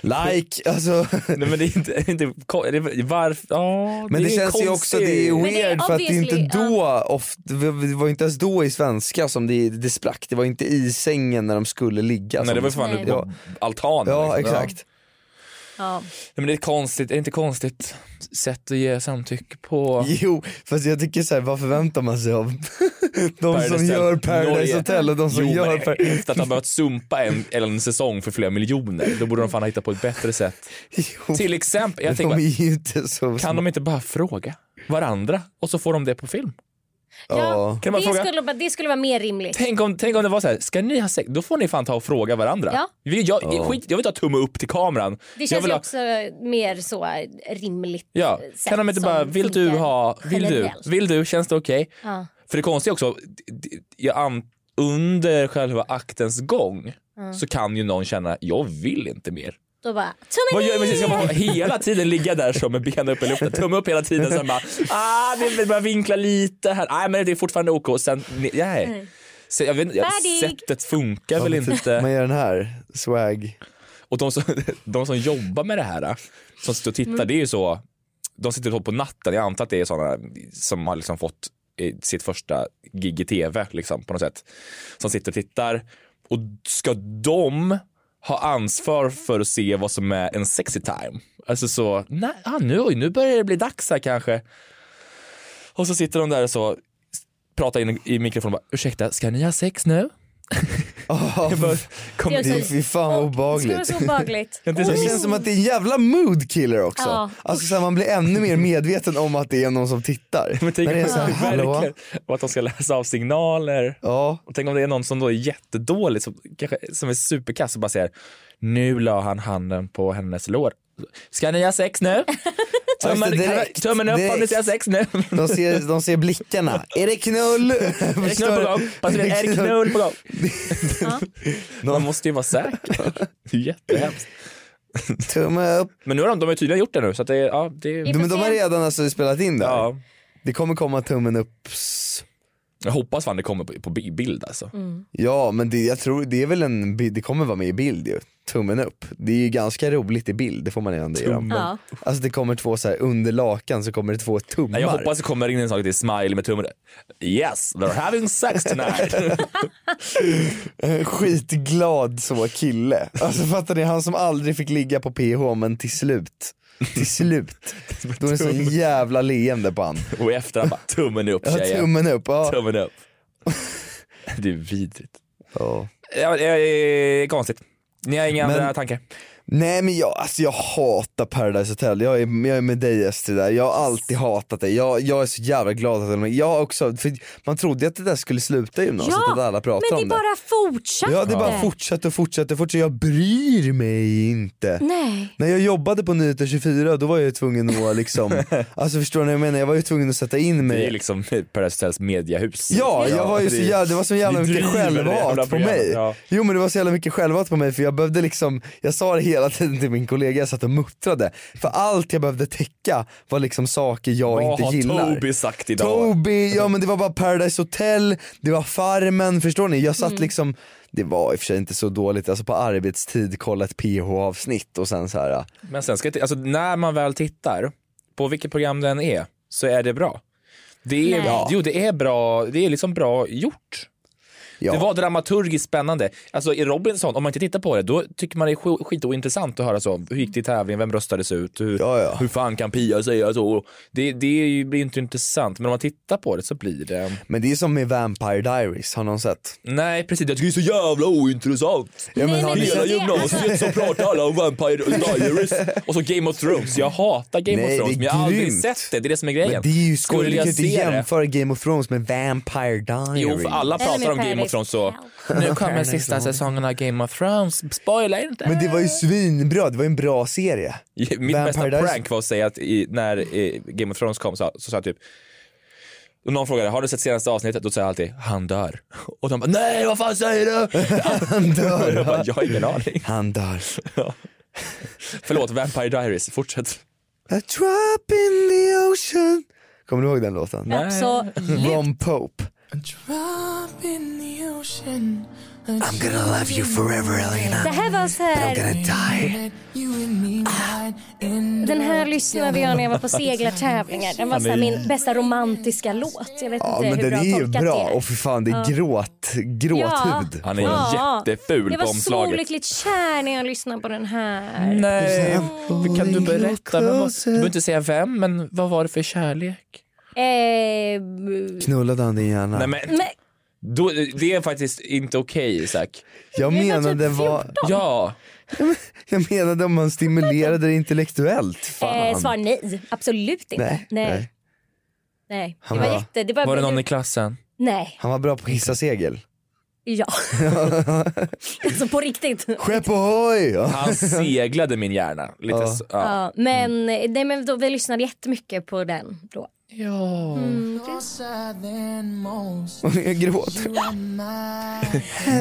S6: Like, alltså.
S3: Nej men det är inte, inte ko- det är- varför, ja
S6: Men det,
S3: är
S6: känns ju också, det är
S3: konstigt.
S7: det är
S6: weird för att det är inte
S7: obviously,
S6: då, ofta, det var inte ens då i svenska som det, det sprack, det var inte i sängen när de skulle ligga.
S3: Nej det
S6: som-
S3: var ju fan
S7: Nej.
S3: ute på altanen.
S6: Alltså, Ja
S3: liksom.
S6: exakt.
S7: Ja.
S3: Nej, men det är ett konstigt, är det inte konstigt sätt att ge samtycke på?
S6: Jo, fast jag tycker såhär, vad förväntar man sig av de
S3: Paradise
S6: som
S3: Hotel,
S6: gör Paradise
S3: Norge.
S6: Hotel och de som
S3: jo,
S6: gör
S3: men
S6: Paradise
S3: efter att ha börjat sumpa en, en säsong för flera miljoner, då borde de fan ha hittat på ett bättre sätt.
S6: Jo,
S3: Till exempel, jag
S6: de
S3: tänker
S6: är
S3: bara,
S6: ju inte så
S3: kan de inte bara fråga varandra och så får de det på film?
S7: Ja,
S3: Kan man
S7: det,
S3: fråga?
S7: Skulle, vara- det skulle vara mer rimligt.
S3: Tänk om, tänk om det var så här, ska ni ha sex? Då får ni fan ta och fråga varandra.
S7: Ja.
S3: Vi- Jag, skit, jag vill ta tumme upp till kameran.
S7: Det
S3: jag
S7: känns
S3: vill
S7: ju
S3: ha,
S7: också mer så rimligt.
S3: ja.
S7: sätt
S3: Kan de inte
S7: som
S3: bara, vill du
S7: funkar
S3: ha, vill du,
S7: generellt.
S3: vill du, känns det okej?
S7: Ja.
S3: För det konstiga också, d- d- jag an, under själva aktens gång så kan ju någon känna, jag vill inte mer.
S7: Då bara,
S3: Vad
S7: tummen
S3: gör,
S7: ner!
S3: men ska man hela tiden ligga där så med benen upp i luften, tumme upp hela tiden, sen bara, ah, det vill bara vinkla lite här, nej men det är fortfarande ok, sen, nej. Se- Jag vet, inte, jag,
S7: Färdig.
S3: sättet funkar väl
S6: typ
S3: inte.
S6: Man gör den här, swag.
S3: Och de som, de som jobbar med det här, som sitter och tittar, det är ju så, de sitter och på natten. Jag antar att det är sådana som har liksom fått eh, sitt första gig i tv liksom, på något sätt. Som sitter och tittar. Och ska de ha ansvar för att se vad som är en sexy time? Alltså så, nej, ah, nu, oj, nu börjar det bli dags här kanske. Och så sitter de där och så pratar in i mikrofonen och bara, ursäkta, ska ni ha sex nu?
S6: Oh,
S3: Jag bara,
S6: kom,
S7: Det
S6: det
S7: är också-
S6: är fy fan vad
S7: Det
S6: obehagligt.
S7: skulle vara så obehagligt.
S3: Kan inte
S6: Det
S3: säga-
S6: känns som att det är en jävla mood killer också.
S7: Ja.
S6: Alltså så här, man blir ännu mer medveten om att det är någon som tittar.
S3: Men tänk
S6: När det är så här, hallå?
S3: verkligen. Och att de ska läsa av signaler.
S6: Ja.
S3: Och tänk om det är någon som då är jättedålig, som, kanske, som är superkass och bara säger nu la han handen på hennes lår. Ska ni ha sex nu? Tummen,
S6: Alltså, direkt,
S3: tummen upp om ni
S6: direkt.
S3: ska ha sex nu.
S6: De ser, de ser blickarna. Är det knull?
S3: Är det knull på gång? Fast det är det knull på gång? Man måste ju vara säker. Det är jättehemskt.
S6: Tumme upp.
S3: Men nu har de, de har ju tydligen gjort det nu så att det, är- ja, det är...
S7: Vi får
S6: Men de har
S7: se.
S6: redan alltså spelat in det här.
S3: Ja.
S6: Det kommer komma tummen upp. s-
S3: Jag hoppas fan det kommer på, på bild alltså.
S6: Ja men det, jag tror det är väl en, bi- det kommer vara med i bild ju. Tummen upp. Det är ju ganska roligt i bild, det får man ändå göra.
S7: Ja.
S6: Alltså det kommer två så här under lakan så kommer det två tummar.
S3: Nej, jag hoppas det kommer in en sak till smile med tummen. Yes, they're having sex tonight.
S6: En skitglad så kille. Alltså fattar ni, han som aldrig fick ligga på PH men till slut, till slut, då är det så jävla leende på han.
S3: och i efterhand bara tummen upp
S6: Ja,
S3: tjejen.
S6: tummen upp, ja.
S3: Tummen upp. Det är vidrigt.
S6: ja. eh,
S3: Ja, det är konstigt. Ni har inga
S6: Men-
S3: andra tankar?
S6: Nej men jag, alltså jag hatar Paradise Hotel, jag är, jag är med dig Estrid där, jag har alltid hatat det. Jag, jag är så jävla glad att de jag har också, för man trodde ju att det där skulle sluta i gymnasiet,
S7: Ja,
S6: att alla pratade
S7: Men det
S6: om det.
S7: bara fortsatte.
S6: Ja det bara fortsätter och fortsätter och fortsätter, jag bryr mig inte.
S7: Nej.
S6: När jag jobbade på Nyheter 24 då var jag ju tvungen att liksom, alltså förstår ni vad jag menar? Jag var ju tvungen att sätta in
S3: Det är
S6: mig
S3: liksom Paradise Hotels mediahus.
S6: Ja, jag var ju
S3: det-
S6: så jävla, det var så jävla
S3: det
S6: mycket
S3: driver det jävla
S6: självhat på
S3: programmet,
S6: mig.
S3: ja.
S6: Jo men det var så jävla mycket självhat på mig för jag behövde liksom, jag sa det hela tiden till min kollega, jag satt och muttrade. För allt jag behövde täcka var liksom saker jag
S3: Vad
S6: inte
S3: har
S6: gillar.
S3: Toby sagt idag?
S6: Toby, ja men det var bara Paradise Hotel, det var Farmen, förstår ni? Jag
S3: Mm.
S6: satt liksom, det var i och för sig inte så dåligt, alltså på arbetstid kolla ett PH-avsnitt och sen så här.
S3: Men sen ska jag t- alltså, när man väl tittar på vilket program den är så är det bra. Det är,
S7: Nej.
S3: jo, det är bra, det är liksom bra gjort.
S6: Ja.
S3: Det var dramaturgiskt spännande. Alltså i Robinson, om man inte tittar på det, då tycker man det är sk- skitointressant att höra så. Hur gick det i tävlingen? Vem röstades ut? Hur,
S6: Ja, ja.
S3: hur fan kan Pia säga så? Det, det är ju- blir inte intressant, men om man tittar på det så blir det...
S6: Men det är som med Vampire Diaries, har någon sett?
S3: Nej, precis. Jag tycker det är så jävla ointressant.
S6: Ja, men
S7: Nej,
S6: har
S7: men
S6: ni
S7: det-
S3: Hela
S6: sett-
S3: gymnasiet så pratar alla om Vampire Diaries och så Game of Thrones. Jag hatar Game
S6: Nej,
S3: of
S6: det
S3: Thrones,
S6: är
S3: men jag har aldrig
S6: grymt.
S3: sett det. Det är det som är grejen.
S6: Men det är ju skoj, du
S3: jag
S6: kan ju
S3: se
S6: inte
S3: det-
S6: jämföra Game of Thrones med Vampire Diaries.
S3: Jo, för alla pratar
S7: Eller
S3: om
S7: med
S3: Game of Thrones så...
S7: Paradise
S3: Nu kommer sista säsongen av Game of Thrones. Spoila inte!
S6: Men det var ju
S7: Eh.
S6: svinbra, det var ju en bra serie.
S3: Mitt
S6: Vampire
S3: bästa
S6: Diaries.
S3: prank var att säga att i, när eh, Game of Thrones kom så, så sa jag typ och någon frågade har du sett senaste avsnittet? Då säger jag alltid han dör. Och de bara nej vad fan säger du?
S6: Han
S3: Och jag,
S6: dör.
S3: bara, jag har ingen aning.
S6: Han dör.
S3: Förlåt Vampire Diaries, fortsätt.
S6: A trap in the ocean. Kommer du ihåg den låten?
S7: Absolut.
S6: Ron Pope. I'm gonna love you forever Elena.
S7: Det här var så här...
S6: I'm gonna die.
S7: Den här lyssnade jag när jag var på seglartävlingar. Den var så här min bästa romantiska låt. Jag vet
S6: Ja men
S7: inte
S6: den
S7: hur bra
S6: är ju
S7: tolkat
S6: bra
S7: det
S6: och för fan det är gråt, gråthud.
S3: Han är
S7: Ja.
S3: jätteful
S7: Jag
S3: på
S7: var så
S3: omslaget.
S7: olyckligt kär när jag lyssnade på den här.
S3: Nej,
S6: Mm.
S3: kan du berätta? Vem var, du
S6: Closet.
S3: behöver inte säga vem, men vad var det för kärlek?
S7: Eh,
S6: Knullade han din hjärna?
S3: Nej, men,
S7: men
S3: då, det är faktiskt inte okej Isak.
S6: jag
S7: vi var
S6: menade
S7: typ
S6: vad,
S3: Ja,
S6: jag menade om man stimulerade det intellektuellt.
S7: eh,
S6: Fan.
S7: svar nej. Absolut inte.
S6: Nej, nej.
S7: nej. nej. Det
S6: Han
S7: var
S6: var-
S7: jätte... Det var,
S3: var det någon i klassen?
S7: Nej.
S6: Han var bra på hissa segel.
S7: Ja. alltså på riktigt.
S6: Skepp ohoj!
S3: Han seglade min hjärna. Lite
S6: Ja.
S3: så, ja.
S7: Ja, men eh, nej, men då, vi lyssnade jättemycket på den då.
S3: Ja.
S6: Jag gråter.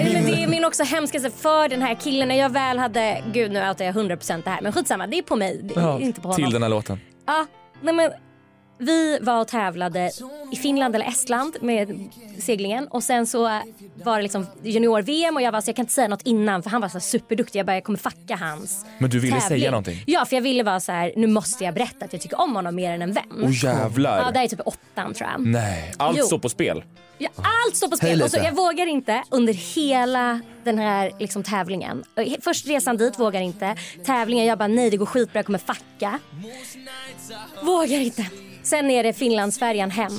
S7: Nej, men det är min också hemskaste för den här killen. När jag väl hade, gud nu outar jag 100% det här men skitsamma det är på mig, det är inte på honom.
S3: Till den här låten.
S7: Ja, nej men Vi var och tävlade i Finland eller Estland med seglingen och sen så var det liksom junior-VM och jag var så jag kan inte säga något innan för han var så här superduktig. Jag bara jag kommer fucka hans
S3: Men du ville
S7: tävling.
S3: säga någonting?
S7: Ja för jag ville vara så här nu måste jag berätta att jag tycker om honom mer än en vän.
S3: Åh jävlar.
S7: Ja det här är typ åttan tror jag.
S3: Nej, allt
S7: Jo.
S3: står på spel.
S7: Ja, allt står på spel.
S6: Hej,
S7: Och så,
S6: Lisa.
S7: jag vågar inte under hela den här liksom, tävlingen. Och he- Först resan dit, vågar inte. Tävlingen, jag bara nej det går skitbra, jag kommer fucka. Vågar inte. Sen är det Finlandsfärjan hem.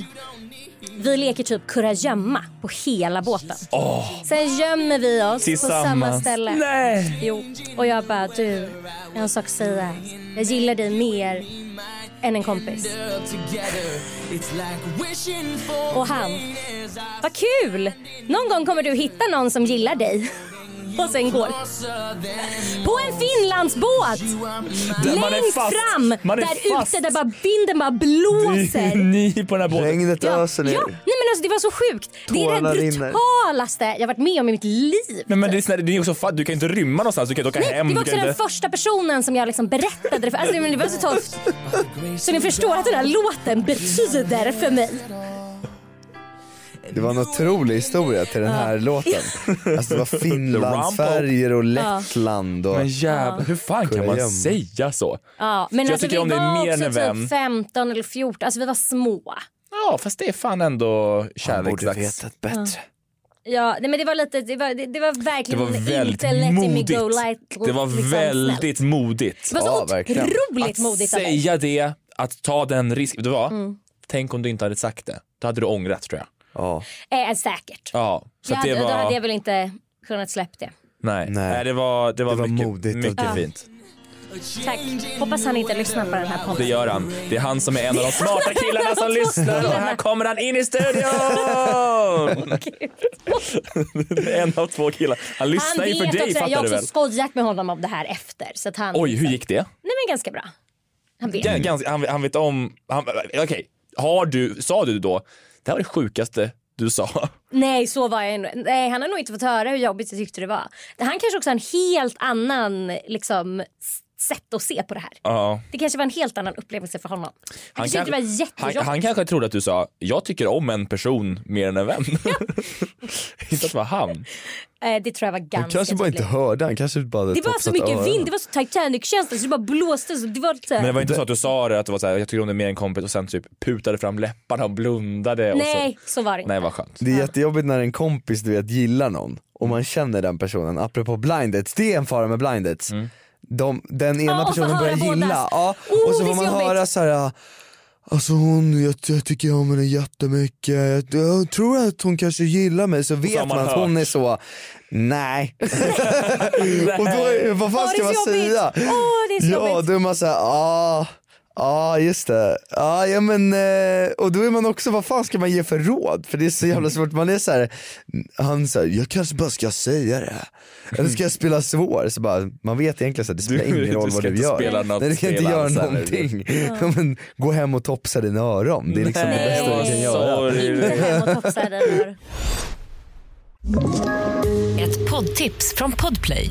S7: Vi leker typ kurragömma på hela båten. Sen gömmer vi oss på samma
S3: Tillsammans.
S7: ställe.
S3: Nej.
S7: Jo. Och jag bara du, jag har en sak att säga. Jag gillar dig mer än en kompis. Och han, vad kul! Någon gång kommer du hitta någon som gillar dig. Och sen går. På en Finlandsbåt!
S3: Där man är
S7: Längst
S3: fast.
S7: fram!
S3: Man är
S7: där
S3: fast.
S7: ute, där bara vinden bara blåser.
S3: Ni på den här båten.
S6: Regnet öser
S7: Ja,
S6: ner.
S7: nej men alltså det var så sjukt.
S6: Tårarna
S7: det är det
S6: rinner.
S7: brutalaste jag varit med om i mitt liv.
S3: Men, men det är snälla, det är också fan, du kan inte rymma någonstans, du kan inte åka
S7: Nej,
S3: hem.
S7: det var
S3: du
S7: också
S3: kan
S7: den
S3: inte...
S7: första personen som jag liksom berättade det för. Alltså, det, men det var så torrt. Så ni förstår att den här låten betyder för mig.
S6: Det var en otrolig historia till den här låten. Alltså det var Finland, Sverige och Lettland och...
S3: Men jävlar, hur fan kan man
S6: Kurragömma.
S3: säga så?
S7: Ja, men
S3: Jag
S7: alltså, vi
S3: tycker om det är
S7: var
S3: mer än
S7: också
S3: en vän.
S7: typ 15 eller 14, alltså vi var små.
S3: Ja, fast det är fan ändå
S6: Han borde
S3: kärleksdags.
S6: vetat bättre.
S7: Ja, nej, men det var lite, det var, det, det var
S3: Det
S7: verkligen
S3: var väldigt
S7: inte letting me
S3: modigt.
S7: go light,
S3: Det var väldigt modigt.
S7: Det var
S6: Ja,
S7: liksom så
S6: verkligen.
S7: otroligt
S3: Att
S7: modigt av Mm. mig.
S3: säga det, att ta den risken. Vet du vad? Tänk om du inte hade sagt det. Då hade du ångrat tror jag.
S6: Ja.
S7: Eh, säkert.
S3: Ja, så
S7: Jag
S3: att det
S7: hade,
S3: var...
S7: Då hade jag väl inte kunnat släppa det.
S3: Nej.
S6: Nej.
S3: Nej, det var, det var,
S6: Det var
S3: mycket,
S6: modigt av
S3: mycket
S6: dig.
S3: fint.
S7: Tack. Hoppas han inte lyssnar på den här podden.
S3: Det gör han. Det är han som är en av de smarta killarna som lyssnar och här kommer han in i studion! en av två killar. Han lyssnar
S7: Han
S3: ju för
S7: vet
S3: dig
S7: också, jag
S3: fattar
S7: har
S3: du
S7: också
S3: väl?
S7: skojat med honom om det här efter. Så att han,
S3: Oj, hur gick det?
S7: Nej men ganska bra. Han vet.
S3: Gan- Ganska, han, han vet om... han- Okej, har du, sa du då, det här var det sjukaste du sa?
S7: Nej så var jag nog- Nej han har nog inte fått höra hur jobbigt jag tyckte det var. Han kanske också har en helt annan liksom s- sätt att se på det här.
S3: Ja.
S7: Det kanske var en helt annan upplevelse för honom. Han, kanske
S3: kanske-
S7: tyckte det var
S3: Han,
S7: jättejobbigt.
S3: han kanske trodde att du sa, jag tycker om en person mer än en vän. Inte att det var han.
S7: Eh, det tror jag var ganska
S6: Han kanske bara inte
S7: tydligt.
S6: hörde, han kanske bara hade
S7: Det var så
S6: topsat
S7: mycket
S6: öronen.
S7: vind, det var så Titanic-känsla så det bara blåste. Så det var lite...
S3: Men det var inte så att du sa det, att det var så här, jag tycker om det mer än kompis och sen typ putade fram läpparna och blundade. Och
S7: Nej
S3: Så,
S7: så var det inte.
S3: nej, vad skönt.
S6: Det är jättejobbigt när en kompis du vet gillar någon och man känner den personen, apropå blind dates, det är en fara med blind dates. De, den ena
S7: Mm. Ja, och få
S6: personen
S7: höra
S6: börjar
S7: bådas.
S6: gilla ja,
S7: Oh,
S6: och
S7: det
S6: så
S7: är
S6: får
S7: så
S6: man
S7: jobbigt.
S6: höra så här. Alltså hon, jag, jag tycker om henne jättemycket, jag, jag tror att hon kanske gillar mig så vet
S3: har
S6: man,
S3: man
S6: att hon är så, nej. och då, är- vad fan
S7: Åh,
S6: ska
S7: det är
S6: man
S7: så jobbigt.
S6: säga?
S7: Åh, det är så
S6: ja,
S7: jobbigt.
S6: då är man såhär, ah, ah, just det. Ah, ja, men, eh, och då är man också, vad fan ska man ge för råd? För det är så jävla svårt, man är såhär, han säger jag kanske bara ska säga det. Eller ska jag spela svår? Så bara, man vet egentligen att det spelar
S3: Du-
S6: ingen roll
S3: du ska
S6: vad du
S3: inte
S6: gör.
S3: spela något
S6: Nej, du ska inte
S3: spel
S6: göra
S3: alls, eller?
S6: någonting. Ja. men, gå hem och topsa dina öron, det är liksom det
S7: Nej.
S6: bästa du kan göra.
S7: Inte
S3: Sorry.
S7: hem och topsa den här.
S4: Ett poddtips från Podplay.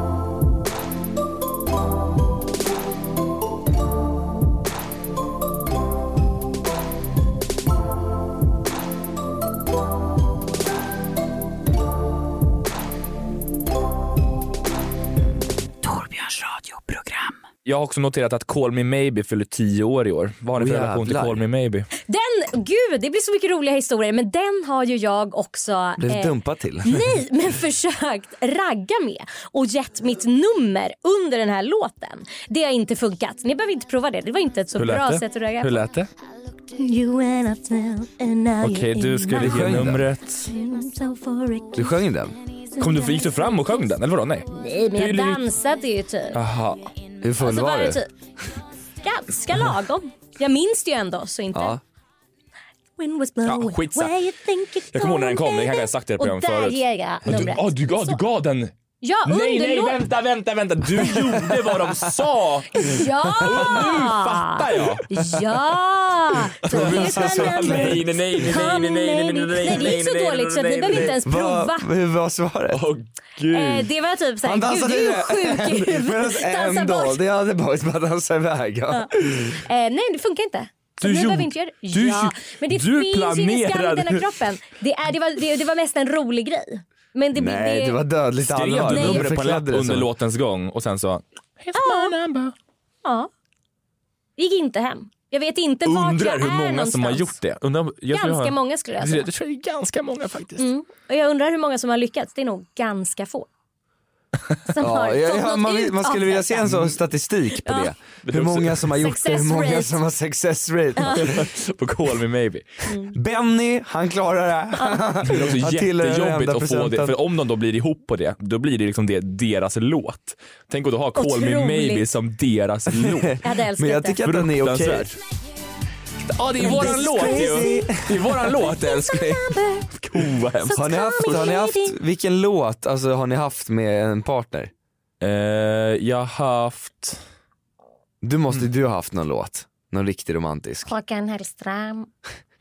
S2: Torbjörns radioprogram.
S3: Jag har också noterat att Call Me Maybe fyller 10 år i år. Vad har ni för
S6: Åh,
S3: relation till
S6: jävlar.
S3: Call Me Maybe?
S7: Den, gud det blir så mycket roliga historier men den har ju jag också
S6: Blev
S7: eh,
S6: dumpad till.
S7: Nej, men försökt ragga med och gett mitt nummer under den här låten. Det har inte funkat. Ni behöver inte prova det. Det var inte ett så
S3: Hur lät
S7: bra
S3: det?
S7: sätt att ragga
S3: Hur
S7: på.
S3: lät det?
S7: You went up now and now
S3: Okej,
S7: you're
S3: du
S7: in
S3: skulle
S7: my
S3: ge
S6: sjöng den.
S3: numret.
S6: Du sjöng den?
S3: Kom du, gick du fram och sjöng den? Eller vadå? Nej.
S7: Nej, men
S3: Hur
S7: jag
S3: lik-
S7: dansade ju typ.
S3: Aha.
S6: Hur full
S7: Så
S6: var,
S7: var det
S6: du?
S7: typ ganska lagom. Jag minns det ju ändå så inte.
S6: Ja.
S7: wind was blowing.
S3: Ja, skitsa.
S7: where you think it's
S3: Jag kommer ihåg när den kom,
S7: going,
S3: det kanske jag
S7: baby.
S3: sagt i det
S7: Och
S3: programmet
S7: där
S3: förut.
S7: ger jag
S3: Ja, du,
S7: numret.
S3: ah, du, gav- du
S7: Så-
S3: gav den...
S7: Ja,
S3: Nej, nej,
S7: underlåt.
S3: vänta, vänta, vänta. Du gjorde vad de sa.
S7: Ja!
S3: Nu fattar jag.
S7: Ja! Så helt annan-
S3: Nej, nej, nej, nej,
S7: Come,
S3: nej, nej, nej, nej,
S7: baby. Nej, det gick så
S3: nej,
S7: dåligt så att
S3: nej,
S7: ni behöver
S3: nej.
S7: inte ens prova.
S6: Hur var svaret?
S3: Åh
S7: Eh,
S3: gud.
S7: Det var typ såhär,
S6: Han
S7: gud
S6: dansade
S7: du är ju
S6: iväg.
S7: sjuk i
S6: Medan
S7: huvudet. Dansa
S6: en dag,
S7: bort.
S6: alltså, det hade varit bara dansa iväg. Ja.
S7: Eh, Nej det funkar inte. Så
S3: Du
S7: nu behöver
S3: gjorde-
S7: vi inte göra det.
S3: du
S7: ja,
S3: gjorde-
S7: men det
S3: du
S7: finns ju ingen skam i
S3: planerade-
S7: den här kroppen. Det, är, det, var, det, det var mest en rolig grej. Men det,
S6: Nej, det var dödligt
S3: Skrev
S6: allvar.
S3: du
S7: Nej, jag
S3: numret på en lapp
S6: förklädde det
S3: under
S6: som-
S3: låtens gång och sen så...
S7: Ja. Det gick inte hem. Jag vet inte vart jag
S3: Undrar
S7: är
S3: hur många som har
S7: någonstans.
S3: gjort det. Undrar, om- jag tror jag
S7: Ganska
S3: har-
S7: många skulle jag säga.
S3: Jag tror det är ganska många faktiskt.
S7: Mm. Och jag undrar hur många som har lyckats. Det är nog ganska få. Som
S6: Ja,
S7: har
S6: ja,
S7: fått
S6: ja,
S7: något
S6: man, vill-
S7: ut
S6: man skulle
S7: av
S6: vilja
S7: detta.
S6: se en sån statistik på det. Hur många som har gjort det, hur
S7: Success
S6: många
S7: rate.
S6: som har success rate.
S3: på Call Me Maybe.
S6: Benny, han klarar det.
S3: Det är också
S6: Han tillhör den
S3: jättejobbigt
S6: enda
S3: att få det,
S6: procenten.
S3: för om de då blir ihop på det, då blir det liksom det, deras låt. Tänk att då ha Call Me
S7: Otroligt.
S3: Maybe som deras låt.
S7: Jag hade älskat
S6: Men jag
S7: det.
S6: tycker att den är okej.
S3: Fruktansvärt. Ja, det är våran
S6: This
S3: låt ju.
S6: crazy.
S3: Det är våran låt älskling. Ko, vad hemskt.
S6: Har ni haft, har ni haft, vilken låt alltså, har ni haft med en partner?
S3: Eh, jag har haft... eh,
S6: Du måste
S7: Mm.
S6: du ha haft någon låt, någon riktigt romantisk.
S7: Håkan Hellström.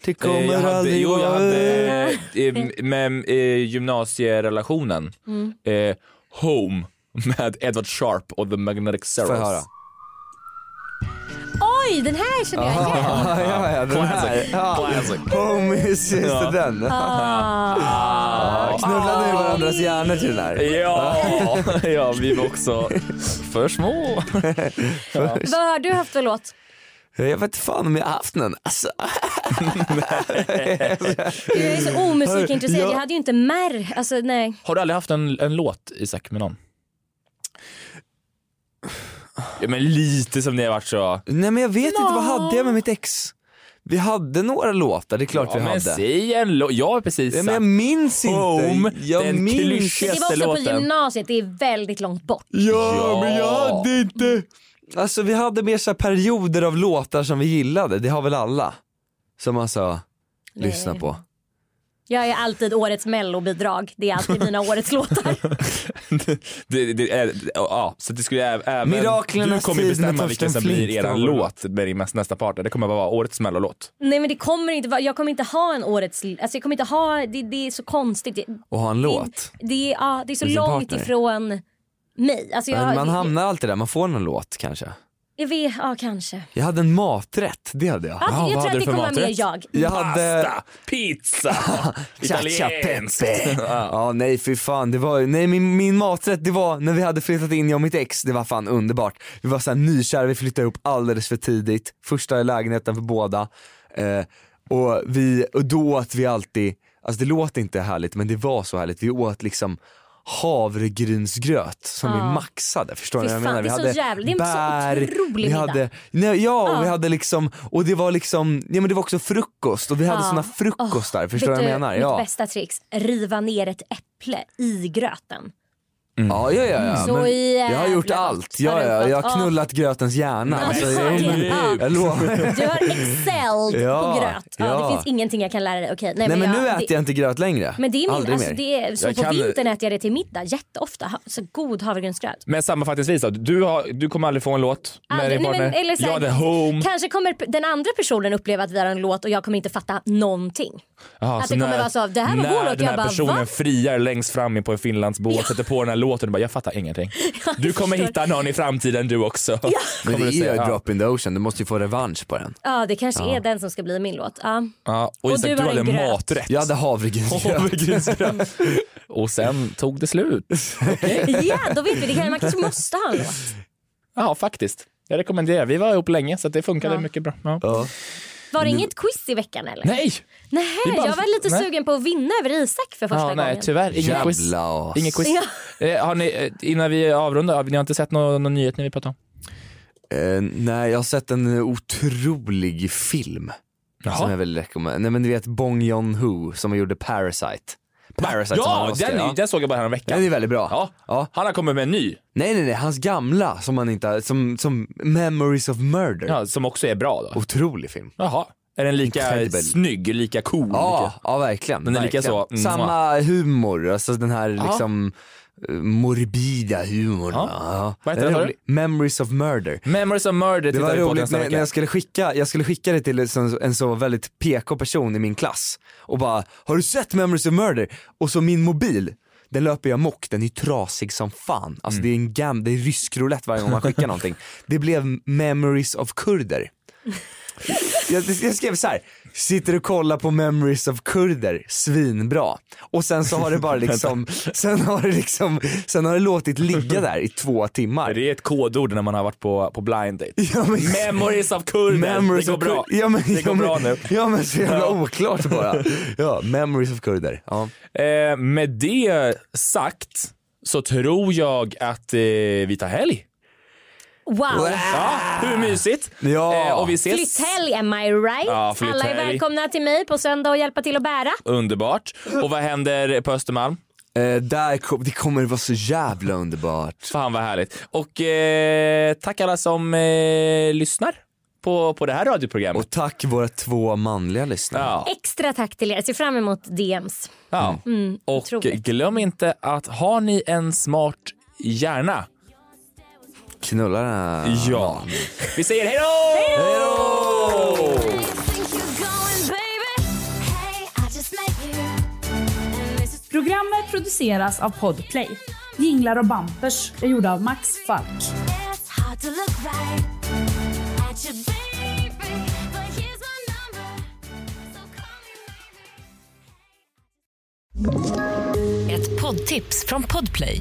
S6: Det
S3: Eh,
S6: kommer
S3: jag hade,
S6: aldrig
S3: jo, jag
S6: vara
S3: hade eh, med eh, gymnasierelationen.
S6: Mm.
S3: Eh, Home med Edward Sharp och The Magnetic
S6: Får jag
S3: Zeros.
S6: höra?
S7: Oj, den här känner jag igen.
S6: Ja, ja, ja, den här. Ja. Homies, just
S3: Ja.
S6: det, den.
S3: Ah.
S6: Knullade ni varandras hjärnor till den här?
S3: Ja, ja, vi var också för små.
S7: Vad har du haft för låt?
S6: Jag vet fan om jag har haft någon. Alltså,
S7: Gud, Jag är så omusikintresserad.
S6: Ja.
S7: Jag hade ju inte märkt. Alltså, nej.
S3: Har du aldrig haft en, en låt, Isak, med någon? Ja, men lite som ni har varit så...
S6: nej men jag vet inte, vad hade jag med mitt ex? Vi hade några låtar, det är klart
S3: Ja,
S6: vi
S3: men
S6: hade.
S3: säg en låt. Jag har precis
S6: Ja,
S3: sagt.
S6: men jag minns inte.
S3: Home,
S6: jag
S3: den
S6: minns.
S3: klyschiga-
S7: Det var också på
S3: Gästelåten.
S7: gymnasiet. Det är väldigt långt bort.
S6: Ja, men jag
S3: Ja.
S6: hade inte. Alltså vi hade mer så här perioder av låtar som vi gillade, det har väl alla? Som man sa, lyssna på.
S7: Jag är alltid årets mellobidrag. Det är alltid mina årets låtar.
S3: det, det, är- ja, så det skulle ä- även...
S6: Miraklernas
S3: du kommer ju
S6: tid med
S3: bestämma
S6: Torsten
S3: vilken som
S6: Flink,
S3: blir
S6: det
S3: era
S6: var vår
S3: låt med din mest- nästa partner. Det kommer bara vara årets mellolåt.
S7: Nej men det kommer inte vara, jag kommer inte ha en årets, alltså jag kommer inte ha, det, det är så konstigt. Det,
S6: Och ha en låt.
S7: det, är- ja, det är så
S6: Med sin
S7: långt
S6: partner.
S7: ifrån mig. Alltså jag,
S6: Men man
S7: det-
S6: hamnar alltid där, man får någon låt kanske.
S7: Jag vet, ja kanske.
S6: Jag hade en maträtt, det hade jag.
S7: Ja,
S3: vad
S7: jag
S3: hade
S7: tror att
S3: du
S7: det
S3: för
S7: kommer vara mer
S3: maträtt?
S7: jag.
S6: Jag hade
S3: Pasta, pizza,
S6: cha
S3: italienskt.
S6: pepe. Ja nej fy fan, det var, nej min, min maträtt det var när vi hade flyttat in jag och mitt ex, det var fan underbart. Vi var såhär nykära, vi flyttade ihop alldeles för tidigt, första lägenheten för båda. Eh, och, vi, och då åt vi alltid, alltså det låter inte härligt men det var så härligt, vi åt liksom havregrynsgröt som vi
S7: Ja.
S6: maxade, förstår ni
S7: Fy
S6: vad jag
S7: fan,
S6: menar? Vi
S7: det är så
S6: hade
S7: jävla- det är en så
S6: bär,
S7: otrolig
S6: vi
S7: middag.
S6: hade, nej, ja, och vi
S7: Ja.
S6: hade liksom, och det var liksom, ja men det var också frukost och vi hade
S7: Ja.
S6: såna frukostar, förstår du
S7: Vet
S6: vad jag menar?
S7: Mitt
S6: Ja.
S7: bästa tricks, riva ner ett äpple i gröten.
S6: Ja, ja, ja. ja.
S7: Mm. Så
S6: Men Mm. jag har
S7: jävla
S6: gjort
S7: gott.
S6: allt.
S7: Har
S6: Ja,
S7: du
S6: ja, jag
S7: fått-
S6: har knullat grötens hjärna.
S7: Ja,
S6: Alltså,
S7: men
S6: jag,
S7: verkligen.
S6: jag, jag lovar.
S7: Du har excellt
S6: Ja,
S7: på gröt. Ja,
S6: ja.
S7: Det finns ingenting jag kan lära dig. Okej, nej,
S6: Nej men
S7: jag,
S6: nu
S7: det,
S6: äter jag inte gröt längre.
S7: Men det är min,
S6: Aldrig
S7: alltså,
S6: mer.
S7: det är, så
S3: Jag
S7: på
S3: kan-
S7: vintern äter jag det till middag jätteofta. Ha- Så god havregrynsgröt.
S3: Men sammanfattningsvis då, du, har, du kommer aldrig få en låt med
S7: Aldrig-
S3: din
S7: nej,
S3: partner.
S7: men- eller så här-
S3: jag hade Home.
S7: Kanske kommer p- den andra personen uppleva att vi har en låt och jag kommer inte fatta någonting.
S3: Ja,
S7: Att det kommer vara så, det här var
S3: när
S7: vår låt,
S3: den
S7: jag
S3: här
S7: bara,
S3: personen
S7: va?
S3: friar längst fram in på en Finlandsbåt, sätter på den här låten och bara jag fattar ingenting. Du kommer
S7: förstår.
S3: hitta någon i framtiden du också. Kommer
S6: Men det
S3: du
S6: är ju
S3: säga,
S6: a
S3: ja.
S6: drop in the ocean, du måste ju få revansch på den.
S7: Ja, det kanske är den som ska bli min låt. Ja.
S3: Ja, och
S7: Och
S3: Isak,
S7: du
S3: du
S7: har en
S3: hade
S7: gröt.
S3: maträtt.
S6: Jag hade havregrynsgröt.
S3: Havregrynsgröt. och sen tog det slut.
S7: ja, då vet vi. Det kan, man kanske måste ha en låt.
S3: Ja, faktiskt. Jag rekommenderar. Vi var ihop länge så att det funkade mycket bra. Ja.
S6: Ja.
S7: Var det inget quiz i veckan eller?
S3: Mm. Nej!
S7: Nej,
S3: Det är bara-
S7: jag var lite
S3: nej.
S7: sugen på att vinna över Isak för första
S3: Ja, nej,
S7: gången.
S3: tyvärr. Inget quiz.
S6: Jävla as.
S3: Inget quiz.
S7: Ja.
S3: Eh, har ni, eh, innan vi avrundar, har ni har inte sett någon, någon nyhet ni vill prata om?
S6: Eh, nej jag har sett en otrolig film. Som jag vill rekommendera. Nej men du vet Bong Joon-Ho som gjorde Parasite. Parasite som vann
S3: Ja,
S6: Oscar,
S3: den, är-
S6: ja.
S3: den såg jag bara häromveckan.
S6: Den är väldigt bra.
S3: Ja.
S6: Ja.
S3: Han har kommit med en ny,
S6: Nej nej nej, hans gamla som han inte, som, som Memories of Murder.
S3: ja, som också är bra. Då.
S6: Otrolig film.
S3: Jaha. Är den lika
S6: Incredible.
S3: snygg, lika cool?
S6: Ja,
S3: lika-
S6: ja verkligen.
S3: Den är lika
S6: verkligen.
S3: så, mm,
S6: Samma humor, alltså den här
S3: Ja.
S6: liksom eh, morbida humorn.
S3: Ja.
S6: Ja.
S3: Vad heter
S6: Den är
S3: den, sa
S6: rolig. Memories of murder.
S3: Memories of Murder
S6: Det
S3: tittar
S6: var
S3: vi på
S6: roligt
S3: nästa
S6: när, när
S3: vecka.
S6: jag, skulle skicka, jag skulle skicka det till en, sån- en så väldigt PK person i min klass och bara “Har du sett Memories of Murder?” och så min mobil, den löper jag mock, den är ju trasig som fan. Alltså
S3: Mm.
S6: det är en gam, det är rysk roulette varje gång man skickar någonting. Det blev Memories of Kurder. Jag, jag skrev så här. sitter och kollar på Memories of Kurder, svinbra. Och sen så har det bara liksom, sen har det liksom, sen har det låtit ligga där i två timmar.
S3: Det är ett kodord när man har varit på, på blind date.
S6: Ja, men-
S3: Memories of kurder.
S6: Memories
S3: det går
S6: of
S3: bra.
S6: Kur- Ja, men,
S3: det går
S6: ja, men,
S3: bra nu.
S6: Ja men så jävla oklart bara. Ja, memories of kurder. Ja.
S3: Eh, med det sagt så tror jag att eh, vi tar helg.
S7: Wow!
S3: Ja, hur mysigt? Eh,
S6: Ja.
S3: och vi ses.
S7: Flytthelg, am I right?
S3: Ja, flytthelg.
S7: Alla är välkomna till mig på söndag och hjälpa till att bära.
S3: Underbart. Och vad händer på Östermalm?
S6: Eh, där kom, det kommer vara så jävla underbart.
S3: Fan vad härligt. Och eh, tack alla som eh, lyssnar på, på det här radioprogrammet.
S6: Och tack våra två manliga lyssnare.
S3: Ja,
S7: Extra tack till er. Ser fram emot DMs.
S3: ja. och
S7: otroligt.
S3: glöm inte att har ni en smart hjärna,
S6: Knulla den här
S3: ja. Vi säger hej då!
S11: Programmet produceras av Podplay. Jinglar och bampers är gjorda av Max Falk.
S4: Ett poddtips från Podplay.